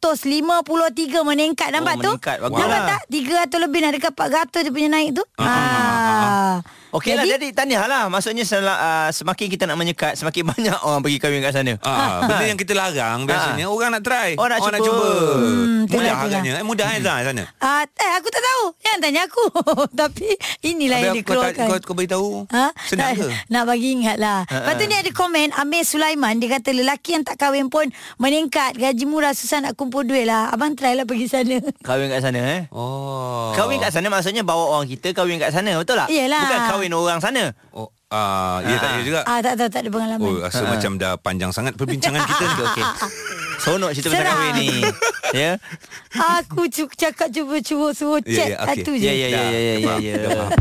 [SPEAKER 2] 4653 meningkat nampak
[SPEAKER 3] Oh,
[SPEAKER 2] tu?
[SPEAKER 3] meningkat. Bagus
[SPEAKER 2] nampak
[SPEAKER 3] lah.
[SPEAKER 2] tak? 300 lebih nak dekat 400 dia punya naik tu. Ah.
[SPEAKER 3] Okey lah, jadi tahniah lah. Maksudnya sel- ah, semakin kita nak menyekat, semakin banyak orang pergi kahwin kat sana.
[SPEAKER 1] Ah, benda yang kita larang biasanya orang nak try.
[SPEAKER 3] Orang nak
[SPEAKER 1] Nak
[SPEAKER 3] cuba.
[SPEAKER 1] cuba.
[SPEAKER 3] Hmm,
[SPEAKER 2] itulah,
[SPEAKER 1] mudah
[SPEAKER 2] itulah.
[SPEAKER 1] harganya. Eh, mudah hmm. eh sana.
[SPEAKER 2] Ah, eh, aku tak tahu. Yang tanya aku. Tapi inilah yang
[SPEAKER 1] Habis kau,
[SPEAKER 2] dikeluarkan.
[SPEAKER 1] kau, kau beritahu
[SPEAKER 2] Ha?
[SPEAKER 1] Senang
[SPEAKER 2] tak,
[SPEAKER 1] ke? Ha,
[SPEAKER 2] Nak bagi ingat lah uh-uh. Lepas tu ni ada komen Amir Sulaiman Dia kata lelaki yang tak kahwin pun Meningkat Gaji murah Susah nak kumpul duit lah Abang try lah pergi sana
[SPEAKER 3] Kahwin kat sana eh.
[SPEAKER 1] Oh.
[SPEAKER 3] Kahwin kat sana maksudnya bawa orang kita kahwin kat sana, betul tak?
[SPEAKER 2] Yelah.
[SPEAKER 3] Bukan kahwin orang sana.
[SPEAKER 1] Oh, ah, ya tak ya juga.
[SPEAKER 2] Ah tak tahu tak ada pengalaman
[SPEAKER 1] Oh, rasa macam dah panjang sangat perbincangan kita ni. Okey.
[SPEAKER 3] Sonok cerita pasal
[SPEAKER 2] Serang.
[SPEAKER 3] kahwin ni. Ya.
[SPEAKER 2] Aku cu- cakap cuba-cuba Suruh
[SPEAKER 1] Ya,
[SPEAKER 2] cek
[SPEAKER 1] ya, okey.
[SPEAKER 2] Satu je
[SPEAKER 3] Ya ya ya ya ya ya.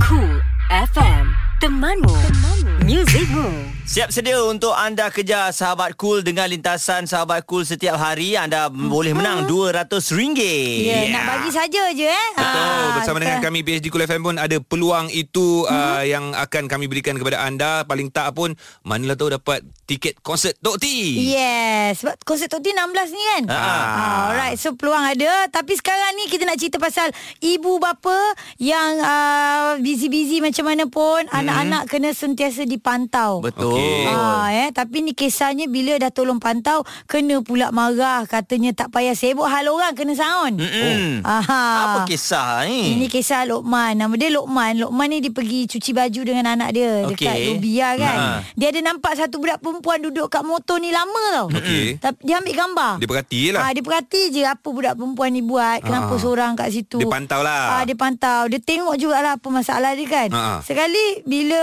[SPEAKER 4] Cool FM. Temanmu. Temanmu. Musicmu.
[SPEAKER 3] Siap sedia untuk anda kejar Sahabat Cool dengan lintasan Sahabat Cool setiap hari. Anda boleh menang RM200.
[SPEAKER 2] Mhm. Ya, yeah. nak bagi saja je eh.
[SPEAKER 1] Betul.
[SPEAKER 2] Ah,
[SPEAKER 1] Bersama
[SPEAKER 2] kita-
[SPEAKER 1] dengan kami PhD Kul FM pun ada peluang itu uh, yang akan kami berikan kepada anda. Paling tak pun manalah tahu dapat tiket konsert Tok T.
[SPEAKER 2] Yes, sebab konsert Tok Tin 16 ni kan. Ah. Alright, so peluang ada. Tapi sekarang ni kita nak cerita pasal ibu bapa yang uh, busy-busy macam mana pun, hmm. anak-anak kena sentiasa dipantau.
[SPEAKER 3] Betul.
[SPEAKER 1] Okey.
[SPEAKER 2] Ah, eh. Tapi ni kisahnya bila dah tolong pantau, kena pula marah. Katanya tak payah sibuk hal orang, kena sound.
[SPEAKER 3] Mm-mm.
[SPEAKER 2] Aha.
[SPEAKER 3] Apa
[SPEAKER 1] Oh.
[SPEAKER 3] Hmm. kisah lah ni?
[SPEAKER 2] Ini kisah Lokman. Nama dia Lokman. Lokman ni dia pergi cuci baju dengan anak dia okay.
[SPEAKER 3] Okey.
[SPEAKER 2] dekat Lubia kan.
[SPEAKER 3] Ha.
[SPEAKER 2] Dia ada nampak satu budak perempuan duduk kat motor ni lama tau.
[SPEAKER 1] Okey.
[SPEAKER 2] Tapi dia ambil gambar.
[SPEAKER 1] Dia perhati je lah.
[SPEAKER 2] Ah, dia perhati je apa budak perempuan ni buat, kenapa
[SPEAKER 1] Ah.
[SPEAKER 2] seorang kat situ.
[SPEAKER 1] Dia pantau lah.
[SPEAKER 2] Ah, dia pantau. Dia tengok jugalah apa masalah dia kan.
[SPEAKER 1] Ah.
[SPEAKER 2] Sekali bila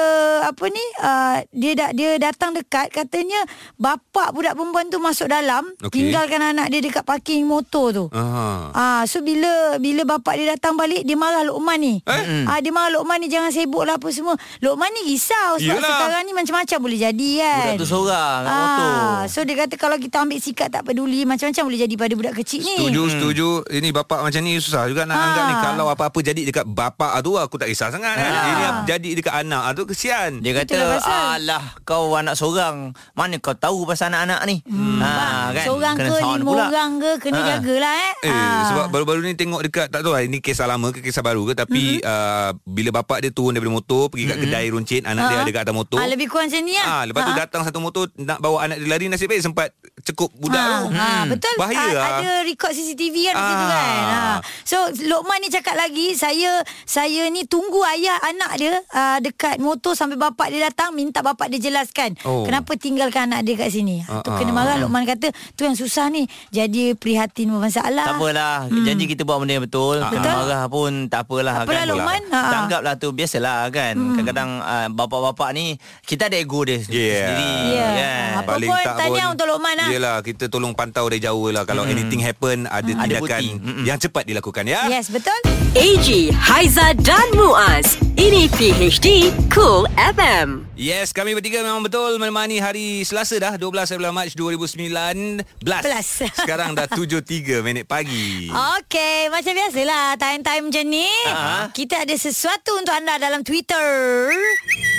[SPEAKER 2] apa ni ah, dia da- dia datang dekat katanya bapak budak perempuan tu masuk dalam
[SPEAKER 1] Okey.
[SPEAKER 2] tinggalkan anak dia dekat parking motor tu.
[SPEAKER 1] Aha.
[SPEAKER 2] Ah, so bila bila bapak dia datang balik dia marah Lokman ni. Eh? Ah dia marah Lokman ni jangan sibuk lah apa semua. Lokman ni risau sebab
[SPEAKER 1] Yelah.
[SPEAKER 2] Yelah. sekarang ni macam-macam boleh jadi kan. Ah,
[SPEAKER 3] Budak tu seorang kat motor.
[SPEAKER 2] so dia kata kalau kita ambil sikap tak peduli macam-macam boleh jadi pada budak kecil ni.
[SPEAKER 1] Setuju, hmm. setuju. Ini bapak macam ni susah juga nak
[SPEAKER 2] Ha.
[SPEAKER 1] anggap ni. Kalau apa-apa jadi dekat bapak tu aku tak kisah sangat. Ha. Kan? Ini apa jadi dekat anak tu kesian.
[SPEAKER 3] Dia kata,
[SPEAKER 2] Itulah pasal.
[SPEAKER 3] alah kau anak seorang. Mana kau tahu pasal anak-anak ni? Hmm. Ha, kan?
[SPEAKER 2] Seorang ke
[SPEAKER 3] sound
[SPEAKER 2] lima orang ke kena
[SPEAKER 3] Ha.
[SPEAKER 2] jagalah eh.
[SPEAKER 1] Eh, sebab baru-baru ni tengok dekat tak tahu lah ini kisah lama ke kisah baru ke tapi mm-hmm. uh, bila bapak dia turun daripada motor pergi kat mm-hmm. kedai runcit anak uh-huh. dia
[SPEAKER 2] Ha.
[SPEAKER 1] ada kat atas motor.
[SPEAKER 2] Ah, lebih kurang macam ni lah.
[SPEAKER 1] Ah, lepas tu
[SPEAKER 2] Ah.
[SPEAKER 1] datang satu motor nak bawa anak dia lari nasib baik sempat cekup budak
[SPEAKER 2] Ah,
[SPEAKER 1] tu.
[SPEAKER 2] ah, betul.
[SPEAKER 1] Bahaya
[SPEAKER 2] Ah,
[SPEAKER 1] lah.
[SPEAKER 2] Ada rekod CCTV kan ah. situ
[SPEAKER 1] Ah.
[SPEAKER 2] kan. Ah. So Lokman ni cakap lagi, saya saya ni tunggu ayah anak dia ah, dekat motor sampai bapak dia datang minta bapak dia jelaskan
[SPEAKER 1] Oh.
[SPEAKER 2] oh. kenapa tinggalkan anak dia kat sini.
[SPEAKER 1] Ah,
[SPEAKER 2] Ah, tu
[SPEAKER 1] ah,
[SPEAKER 2] kena marah Lokman kata, tu yang susah ni. Jadi prihatin bermasalah.
[SPEAKER 3] Tak apalah hmm. Janji kita buat benda yang betul
[SPEAKER 1] Ah,
[SPEAKER 3] Kita
[SPEAKER 2] lah? Betul.
[SPEAKER 3] marah pun tak apalah
[SPEAKER 2] Tak apalah, Lokman. Ha.
[SPEAKER 3] Tak anggaplah tu Biasalah kan hmm. Kadang-kadang uh, Bapak-bapak ni Kita ada ego dia
[SPEAKER 1] Yeah.
[SPEAKER 3] sendiri
[SPEAKER 2] Yeah. Ah,
[SPEAKER 1] Eh,
[SPEAKER 3] kan?
[SPEAKER 2] Apa pun, tahniah untuk Lokman lah.
[SPEAKER 1] Yelah kita tolong pantau dari jauh lah Kalau anything happen Ada
[SPEAKER 3] Ada
[SPEAKER 1] tindakan
[SPEAKER 3] bukti. Mm-mm.
[SPEAKER 1] yang cepat dilakukan ya
[SPEAKER 2] Hmm. Yes, betul.
[SPEAKER 4] AG, Haiza dan Muaz. Ini PHD Cool FM.
[SPEAKER 1] Yes, kami bertiga memang betul menemani hari Selasa dah 12 bulan Mac 2019.
[SPEAKER 2] Belas. Ah.
[SPEAKER 1] Sekarang dah 7.3 minit pagi.
[SPEAKER 2] Okey, macam biasalah time-time macam ni.
[SPEAKER 3] Ah.
[SPEAKER 2] Kita ada sesuatu untuk anda dalam Twitter.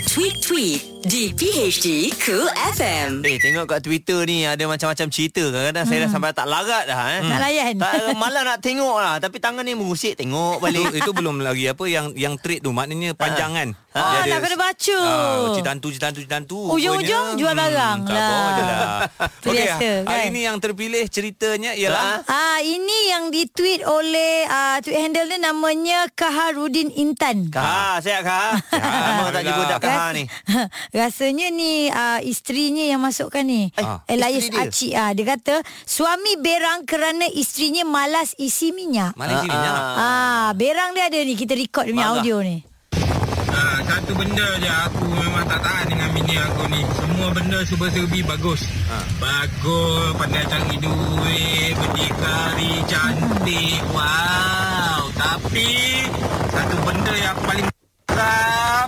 [SPEAKER 4] Tweet Tweet di PHD Cool FM.
[SPEAKER 3] Eh tengok kat Twitter ni Ada macam-macam cerita Kadang-kadang
[SPEAKER 2] Hmm.
[SPEAKER 3] saya dah sampai tak larat dah eh.
[SPEAKER 2] Tak kan? layan.
[SPEAKER 3] tak, Malah nak tengok lah Tapi tangan ni mengusik Tengok
[SPEAKER 1] Itu,
[SPEAKER 3] balik
[SPEAKER 1] itu belum lagi apa yang yang trade tu maknanya panjang kan.
[SPEAKER 2] Ah, tak kena baca.
[SPEAKER 1] Ah, citantu citantu citantu.
[SPEAKER 2] Ujung-ujung
[SPEAKER 1] rupanya.
[SPEAKER 2] Oh,
[SPEAKER 1] Hmm,
[SPEAKER 2] jual barang
[SPEAKER 1] tak
[SPEAKER 2] lah.
[SPEAKER 1] apa je lah.
[SPEAKER 2] Tu
[SPEAKER 1] Okey,
[SPEAKER 2] biasa,
[SPEAKER 1] hari
[SPEAKER 2] kan?
[SPEAKER 1] ni yang terpilih ceritanya
[SPEAKER 11] Ha?
[SPEAKER 1] ialah
[SPEAKER 2] Ah ini yang ditweet oleh ah, tweet handle dia namanya Kaharudin Intan.
[SPEAKER 3] Kaha Sihat Kaha Lama Ha, tak jumpa dak Kaha ni
[SPEAKER 2] Rasanya ni uh, isterinya yang masukkan ni.
[SPEAKER 3] Ah.
[SPEAKER 2] Elias
[SPEAKER 3] Isteri dia?
[SPEAKER 2] Aci ah dia kata suami berang kerana isterinya malas isi minyak.
[SPEAKER 1] mana sini
[SPEAKER 3] Ah,
[SPEAKER 1] nak.
[SPEAKER 2] Ah, berang dia ada ni kita record dia punya
[SPEAKER 3] Marah.
[SPEAKER 2] audio ni.
[SPEAKER 11] Ha, satu benda je aku memang tak tahan dengan bini aku ni. Semua benda serba-serbi bagus. Ha. Bagus, pandai cari duit, berdikari, cantik.
[SPEAKER 2] Hmm.
[SPEAKER 11] Wow. Tapi satu benda yang aku paling geram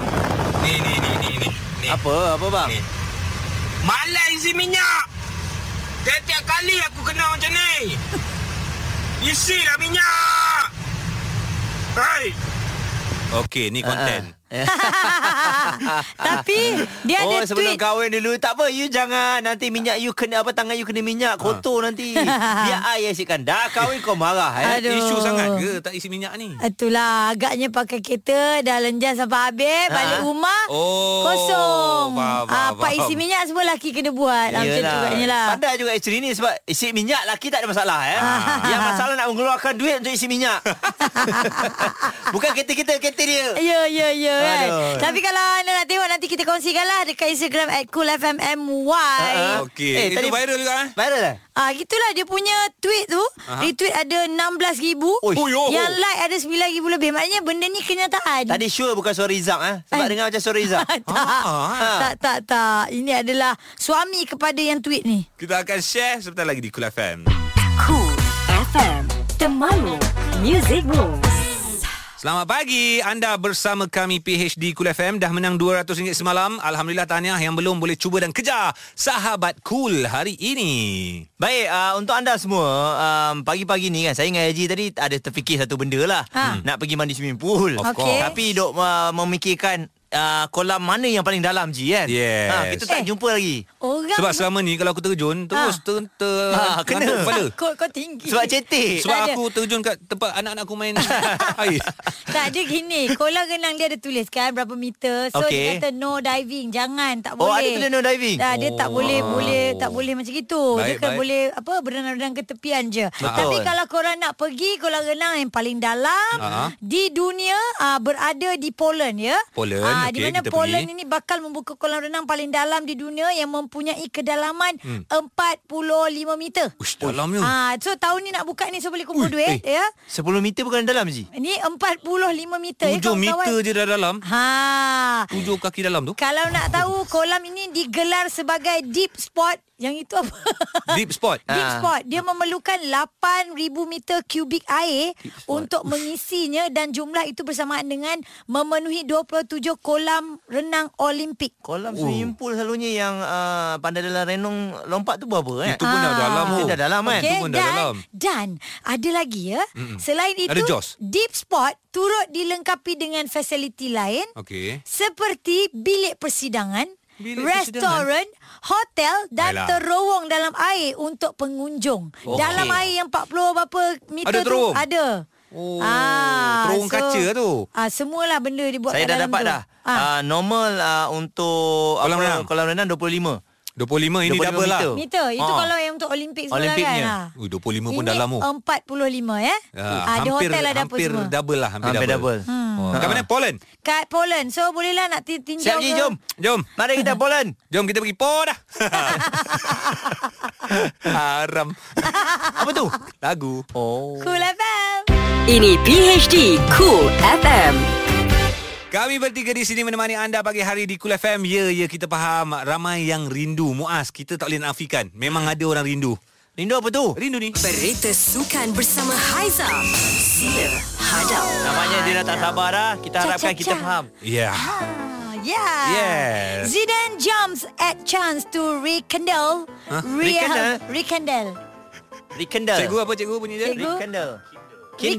[SPEAKER 11] ni ni ni ni ni. ni.
[SPEAKER 3] Apa Apa bang
[SPEAKER 11] Ni. Malas isi minyak. Tiap-tiap kali aku kena macam ni. Isilah minyak. Hai.
[SPEAKER 1] Okey, ni konten.
[SPEAKER 2] Tapi dia
[SPEAKER 3] oh,
[SPEAKER 2] ada
[SPEAKER 3] sebelum
[SPEAKER 2] tweet
[SPEAKER 3] kahwin dulu tak apa you jangan nanti minyak you kena apa tangan you kena
[SPEAKER 2] Ha.
[SPEAKER 3] minyak kotor nanti. Biar ai asyikkan. Dah kahwin kau marah eh.
[SPEAKER 2] Aduh.
[SPEAKER 1] Isu sangat ke tak isi minyak ni?
[SPEAKER 2] Itulah agaknya pakai kereta dah lenjan sampai habis
[SPEAKER 3] Ha?
[SPEAKER 2] balik rumah
[SPEAKER 1] Oh,
[SPEAKER 2] kosong.
[SPEAKER 1] faham,
[SPEAKER 2] ah
[SPEAKER 1] faham,
[SPEAKER 2] pak
[SPEAKER 1] faham.
[SPEAKER 2] isi minyak semua lelaki kena buat. Ah, Macam tu agaknya lah.
[SPEAKER 3] Pandai juga isteri ni sebab isi minyak laki tak ada masalah eh.
[SPEAKER 2] Ha.
[SPEAKER 3] Yang masalah nak mengeluarkan duit untuk isi minyak. Bukan kereta kita, kereta dia.
[SPEAKER 2] Ya, ya, ya kan.
[SPEAKER 3] Aduh.
[SPEAKER 2] Tapi kalau anda nak tengok nanti kita kongsikan lah dekat Instagram at coolfmmy.
[SPEAKER 3] Ah,
[SPEAKER 1] Okey, itu viral juga, eh?
[SPEAKER 3] Viral lah.
[SPEAKER 2] Ah, gitulah dia punya tweet tu. Retweet ada 16,000.
[SPEAKER 3] Oi. Oi, oh.
[SPEAKER 2] Yang like ada 9,000 lebih. Maknanya benda ni kenyataan.
[SPEAKER 3] Tadi Ah, sure bukan suara Izam eh. Sebab
[SPEAKER 2] Eh.
[SPEAKER 3] dengar macam suara Izam.
[SPEAKER 2] tak, tak, tak, tak. Ini adalah suami kepada yang tweet ni.
[SPEAKER 1] Kita akan share sebentar lagi di Kul FM.
[SPEAKER 4] Cool FM. Temanmu. Music Moves.
[SPEAKER 1] Selamat pagi. Anda bersama kami PHD Cool FM dah menang RM200 semalam. Alhamdulillah tahniah yang belum boleh cuba dan kejar sahabat cool hari ini.
[SPEAKER 3] Baik, uh, untuk anda semua, um, pagi-pagi ni kan saya dengan Haji tadi ada terfikir satu benda lah. Ha.
[SPEAKER 2] Ha.
[SPEAKER 3] Nak pergi mandi swimming pool.
[SPEAKER 2] Of course. Okay.
[SPEAKER 3] Tapi dok uh, memikirkan uh, kolam mana yang paling dalam Ji kan.
[SPEAKER 1] Yes.
[SPEAKER 3] Ha, kita tak
[SPEAKER 2] Eh.
[SPEAKER 3] eh. jumpa lagi.
[SPEAKER 2] Orang
[SPEAKER 1] Sebab selama ni kalau aku terjun terus
[SPEAKER 2] Ah.
[SPEAKER 1] ha. ter, ter
[SPEAKER 3] Ah, kena.
[SPEAKER 1] ngantuk kepala.
[SPEAKER 2] takut kau tinggi.
[SPEAKER 3] Sebab cetek.
[SPEAKER 1] Sebab
[SPEAKER 2] Tak Eh, ada.
[SPEAKER 1] aku terjun kat tempat anak-anak aku main air.
[SPEAKER 2] Tak ada gini Kolam renang dia ada tulis kan Berapa meter So okay.
[SPEAKER 3] Okey.
[SPEAKER 2] dia kata no diving Jangan tak boleh
[SPEAKER 3] Oh, ada tulis no diving?
[SPEAKER 2] ah, Dia tak
[SPEAKER 1] Oh.
[SPEAKER 2] boleh boleh Tak boleh macam itu Dia
[SPEAKER 1] Baik,
[SPEAKER 2] kan
[SPEAKER 1] baik.
[SPEAKER 2] boleh Apa Berenang-renang ke tepian je
[SPEAKER 3] Betul.
[SPEAKER 2] Tapi kalau korang nak pergi Kolam renang yang paling dalam
[SPEAKER 1] Ah.
[SPEAKER 2] Di dunia ah, Berada di Poland ya
[SPEAKER 1] Poland,
[SPEAKER 2] Ah, Di
[SPEAKER 1] okey,
[SPEAKER 2] mana
[SPEAKER 1] kita
[SPEAKER 2] Poland
[SPEAKER 1] pergi.
[SPEAKER 2] ini bakal membuka kolam renang paling dalam di dunia Yang mempunyai kedalaman 45 meter
[SPEAKER 1] Ush, dalamnya.
[SPEAKER 2] Ah, so tahun ni nak buka ni so boleh kumpul
[SPEAKER 3] Ui,
[SPEAKER 2] duit
[SPEAKER 3] eh.
[SPEAKER 2] ya.
[SPEAKER 3] 10 meter bukan dalam Ji.
[SPEAKER 2] Ini 45 meter ya
[SPEAKER 1] 7 meter
[SPEAKER 2] kawan-kawan.
[SPEAKER 1] je dah dalam.
[SPEAKER 2] Ha.
[SPEAKER 1] 7 kaki dalam tu.
[SPEAKER 2] Kalau nak tahu kolam ini digelar sebagai deep spot yang itu apa?
[SPEAKER 1] Deep spot.
[SPEAKER 2] Ah,
[SPEAKER 1] Ah,
[SPEAKER 2] Deep spot Dia memerlukan 8,000 meter kubik air Untuk mengisinya Dan jumlah itu bersamaan dengan Memenuhi 27 kolam renang olimpik
[SPEAKER 1] Oh.
[SPEAKER 3] Kolam swimming pool selalunya yang uh, pandai dalam renung lompat tu berapa eh?
[SPEAKER 1] Itu pun
[SPEAKER 2] Ah.
[SPEAKER 1] dah dalam. oh.
[SPEAKER 3] Itu dah dalam kan?
[SPEAKER 1] Okey.
[SPEAKER 3] Okay.
[SPEAKER 1] Tu pun dah
[SPEAKER 2] dan,
[SPEAKER 1] dalam.
[SPEAKER 2] Dan ada lagi ya. Mm-mm. Selain itu,
[SPEAKER 1] Ada JOS?
[SPEAKER 2] deep spot turut dilengkapi dengan fasiliti lain
[SPEAKER 1] Okey.
[SPEAKER 2] seperti bilik persidangan,
[SPEAKER 1] Bilik
[SPEAKER 2] restoran, hotel dan
[SPEAKER 1] Ayolah. Oh.
[SPEAKER 2] terowong dalam air untuk pengunjung.
[SPEAKER 3] Okey.
[SPEAKER 2] Dalam air yang 40 berapa meter
[SPEAKER 1] Ada terowong?
[SPEAKER 2] tu ada.
[SPEAKER 1] Oh, terowong kaca tu.
[SPEAKER 2] Ah, semualah benda dibuat
[SPEAKER 3] Saya
[SPEAKER 2] kat
[SPEAKER 3] dah
[SPEAKER 2] dalam
[SPEAKER 3] dapat
[SPEAKER 2] tu. Ah.
[SPEAKER 3] dah.
[SPEAKER 1] Ah.
[SPEAKER 3] Uh, normal uh, untuk
[SPEAKER 1] Kolam
[SPEAKER 3] apa,
[SPEAKER 1] renang.
[SPEAKER 3] kolam renang 25.
[SPEAKER 1] 25 ini
[SPEAKER 3] 25
[SPEAKER 1] double lah.
[SPEAKER 3] meter.
[SPEAKER 2] Meter Itu
[SPEAKER 3] Ah.
[SPEAKER 2] kalau yang untuk Olimpik semua lah kan
[SPEAKER 3] Olimpiknya.
[SPEAKER 2] Ah.
[SPEAKER 1] Ui, 25 pun
[SPEAKER 2] Ini
[SPEAKER 1] dalam oh.
[SPEAKER 2] 45 eh
[SPEAKER 1] Ah,
[SPEAKER 2] Ada
[SPEAKER 1] hampir,
[SPEAKER 2] hotel ada apa
[SPEAKER 1] hampir
[SPEAKER 2] semua
[SPEAKER 1] double lah Hampir,
[SPEAKER 3] Hampir double.
[SPEAKER 1] Hmm. Oh. Kat
[SPEAKER 2] Ah.
[SPEAKER 1] mana? Poland?
[SPEAKER 2] Kat Poland So bolehlah nak ti- tinjau
[SPEAKER 3] Siap Ji,
[SPEAKER 2] ke-
[SPEAKER 3] jom.
[SPEAKER 1] Jom
[SPEAKER 3] Mari kita Poland.
[SPEAKER 1] Jom kita pergi Poh dah Haram
[SPEAKER 3] Apa tu?
[SPEAKER 1] Lagu
[SPEAKER 3] Oh.
[SPEAKER 2] Cool FM
[SPEAKER 4] Ini PHD Cool FM.
[SPEAKER 1] Kami bertiga di sini menemani anda pagi hari di Kul FM Ya, ya kita faham Ramai yang rindu Muaz, kita tak boleh nafikan Memang
[SPEAKER 3] Ya.
[SPEAKER 1] ada orang rindu
[SPEAKER 3] Rindu apa tu?
[SPEAKER 1] Rindu ni
[SPEAKER 4] Berita sukan bersama Haiza. Sila hadap.
[SPEAKER 3] Namanya dia dah tak sabar dah. Kita harapkan
[SPEAKER 2] Cha-cha-cha.
[SPEAKER 3] kita faham.
[SPEAKER 1] Ya yeah.
[SPEAKER 2] Ah, Yeah.
[SPEAKER 1] Yes.
[SPEAKER 2] Zidane jumps at chance to rekindle. Huh?
[SPEAKER 3] Rekindle?
[SPEAKER 2] Rekindle.
[SPEAKER 3] Rekindle.
[SPEAKER 1] Cikgu apa cikgu punya dia?
[SPEAKER 2] Cikgu.
[SPEAKER 3] Rekindle.
[SPEAKER 2] Rekindle.
[SPEAKER 1] Ini
[SPEAKER 2] Okay.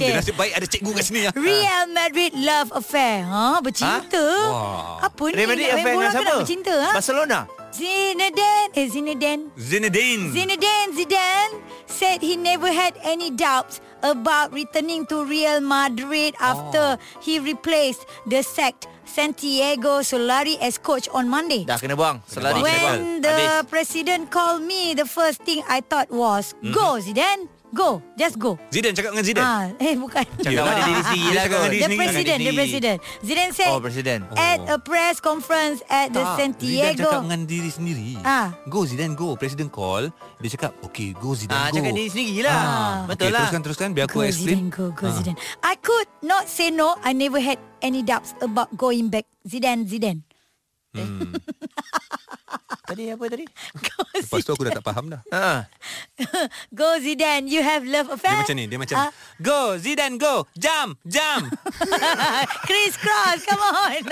[SPEAKER 1] Kinder Nasib baik ada cikgu kat sini ya.
[SPEAKER 3] Ah.
[SPEAKER 2] Real Madrid love affair. Ha, bercinta.
[SPEAKER 1] Wah.
[SPEAKER 2] Apa ni?
[SPEAKER 3] Real Madrid
[SPEAKER 2] Nak main
[SPEAKER 3] affair
[SPEAKER 2] bola
[SPEAKER 3] dengan
[SPEAKER 2] ke nak
[SPEAKER 3] siapa?
[SPEAKER 2] Bercinta ha?
[SPEAKER 3] Barcelona.
[SPEAKER 2] Zinedine. Eh, Zinedine.
[SPEAKER 3] Hmm.
[SPEAKER 1] Zinedine
[SPEAKER 2] Zinedine Zidane said he never had any doubts about returning to Real Madrid
[SPEAKER 3] Oh.
[SPEAKER 2] after he replaced the sacked Santiago Solari as coach on Monday.
[SPEAKER 3] Dah kena buang. Selari kena buang.
[SPEAKER 2] When the president called me, the first thing I thought was,
[SPEAKER 1] Mm-hmm.
[SPEAKER 2] "Go, Zidane, go, just go."
[SPEAKER 1] Zidane cakap dengan Zidane
[SPEAKER 2] Ah, eh bukan.
[SPEAKER 3] Cakap
[SPEAKER 1] Yelah.
[SPEAKER 3] pada diri sendiri
[SPEAKER 1] Dia
[SPEAKER 3] lah
[SPEAKER 1] cakap
[SPEAKER 3] kot.
[SPEAKER 1] dengan diri
[SPEAKER 2] The
[SPEAKER 1] sendiri.
[SPEAKER 2] president, the
[SPEAKER 3] Diri.
[SPEAKER 2] president. Zidane said
[SPEAKER 3] Oh, presiden.
[SPEAKER 2] at a press conference at the
[SPEAKER 1] Zidane cakap
[SPEAKER 2] Santiago.
[SPEAKER 1] dengan diri sendiri
[SPEAKER 2] Ah.
[SPEAKER 1] Go Zidane go Presiden call Dia cakap Okay go Zidane
[SPEAKER 3] Ah,
[SPEAKER 1] go
[SPEAKER 3] cakap diri sendiri lah.
[SPEAKER 2] Ah.
[SPEAKER 3] Betul
[SPEAKER 1] okay,
[SPEAKER 3] lah.
[SPEAKER 1] Teruskan teruskan Biar aku Ah.
[SPEAKER 2] Go
[SPEAKER 1] explain
[SPEAKER 2] Zidane, go, go Zidane. I could not say no. I never had any doubts about going back. Zidane, Zidane.
[SPEAKER 1] Hmm.
[SPEAKER 3] Tadi apa tadi?
[SPEAKER 2] Go,
[SPEAKER 1] Lepas tu aku dah tak faham dah Ah,
[SPEAKER 3] Ha.
[SPEAKER 2] Zidane. go Zidane. You have love affair.
[SPEAKER 1] Dia macam ni Dia macam
[SPEAKER 2] Ah.
[SPEAKER 1] Go Zidane go Jam Jam
[SPEAKER 2] Chris Cross, come on.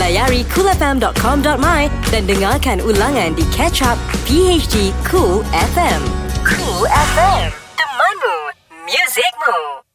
[SPEAKER 4] Layari coolfm.com.my dan dengarkan ulangan di Catch Up PHD Cool FM. Cool FM. Temanmu. Muzikmu.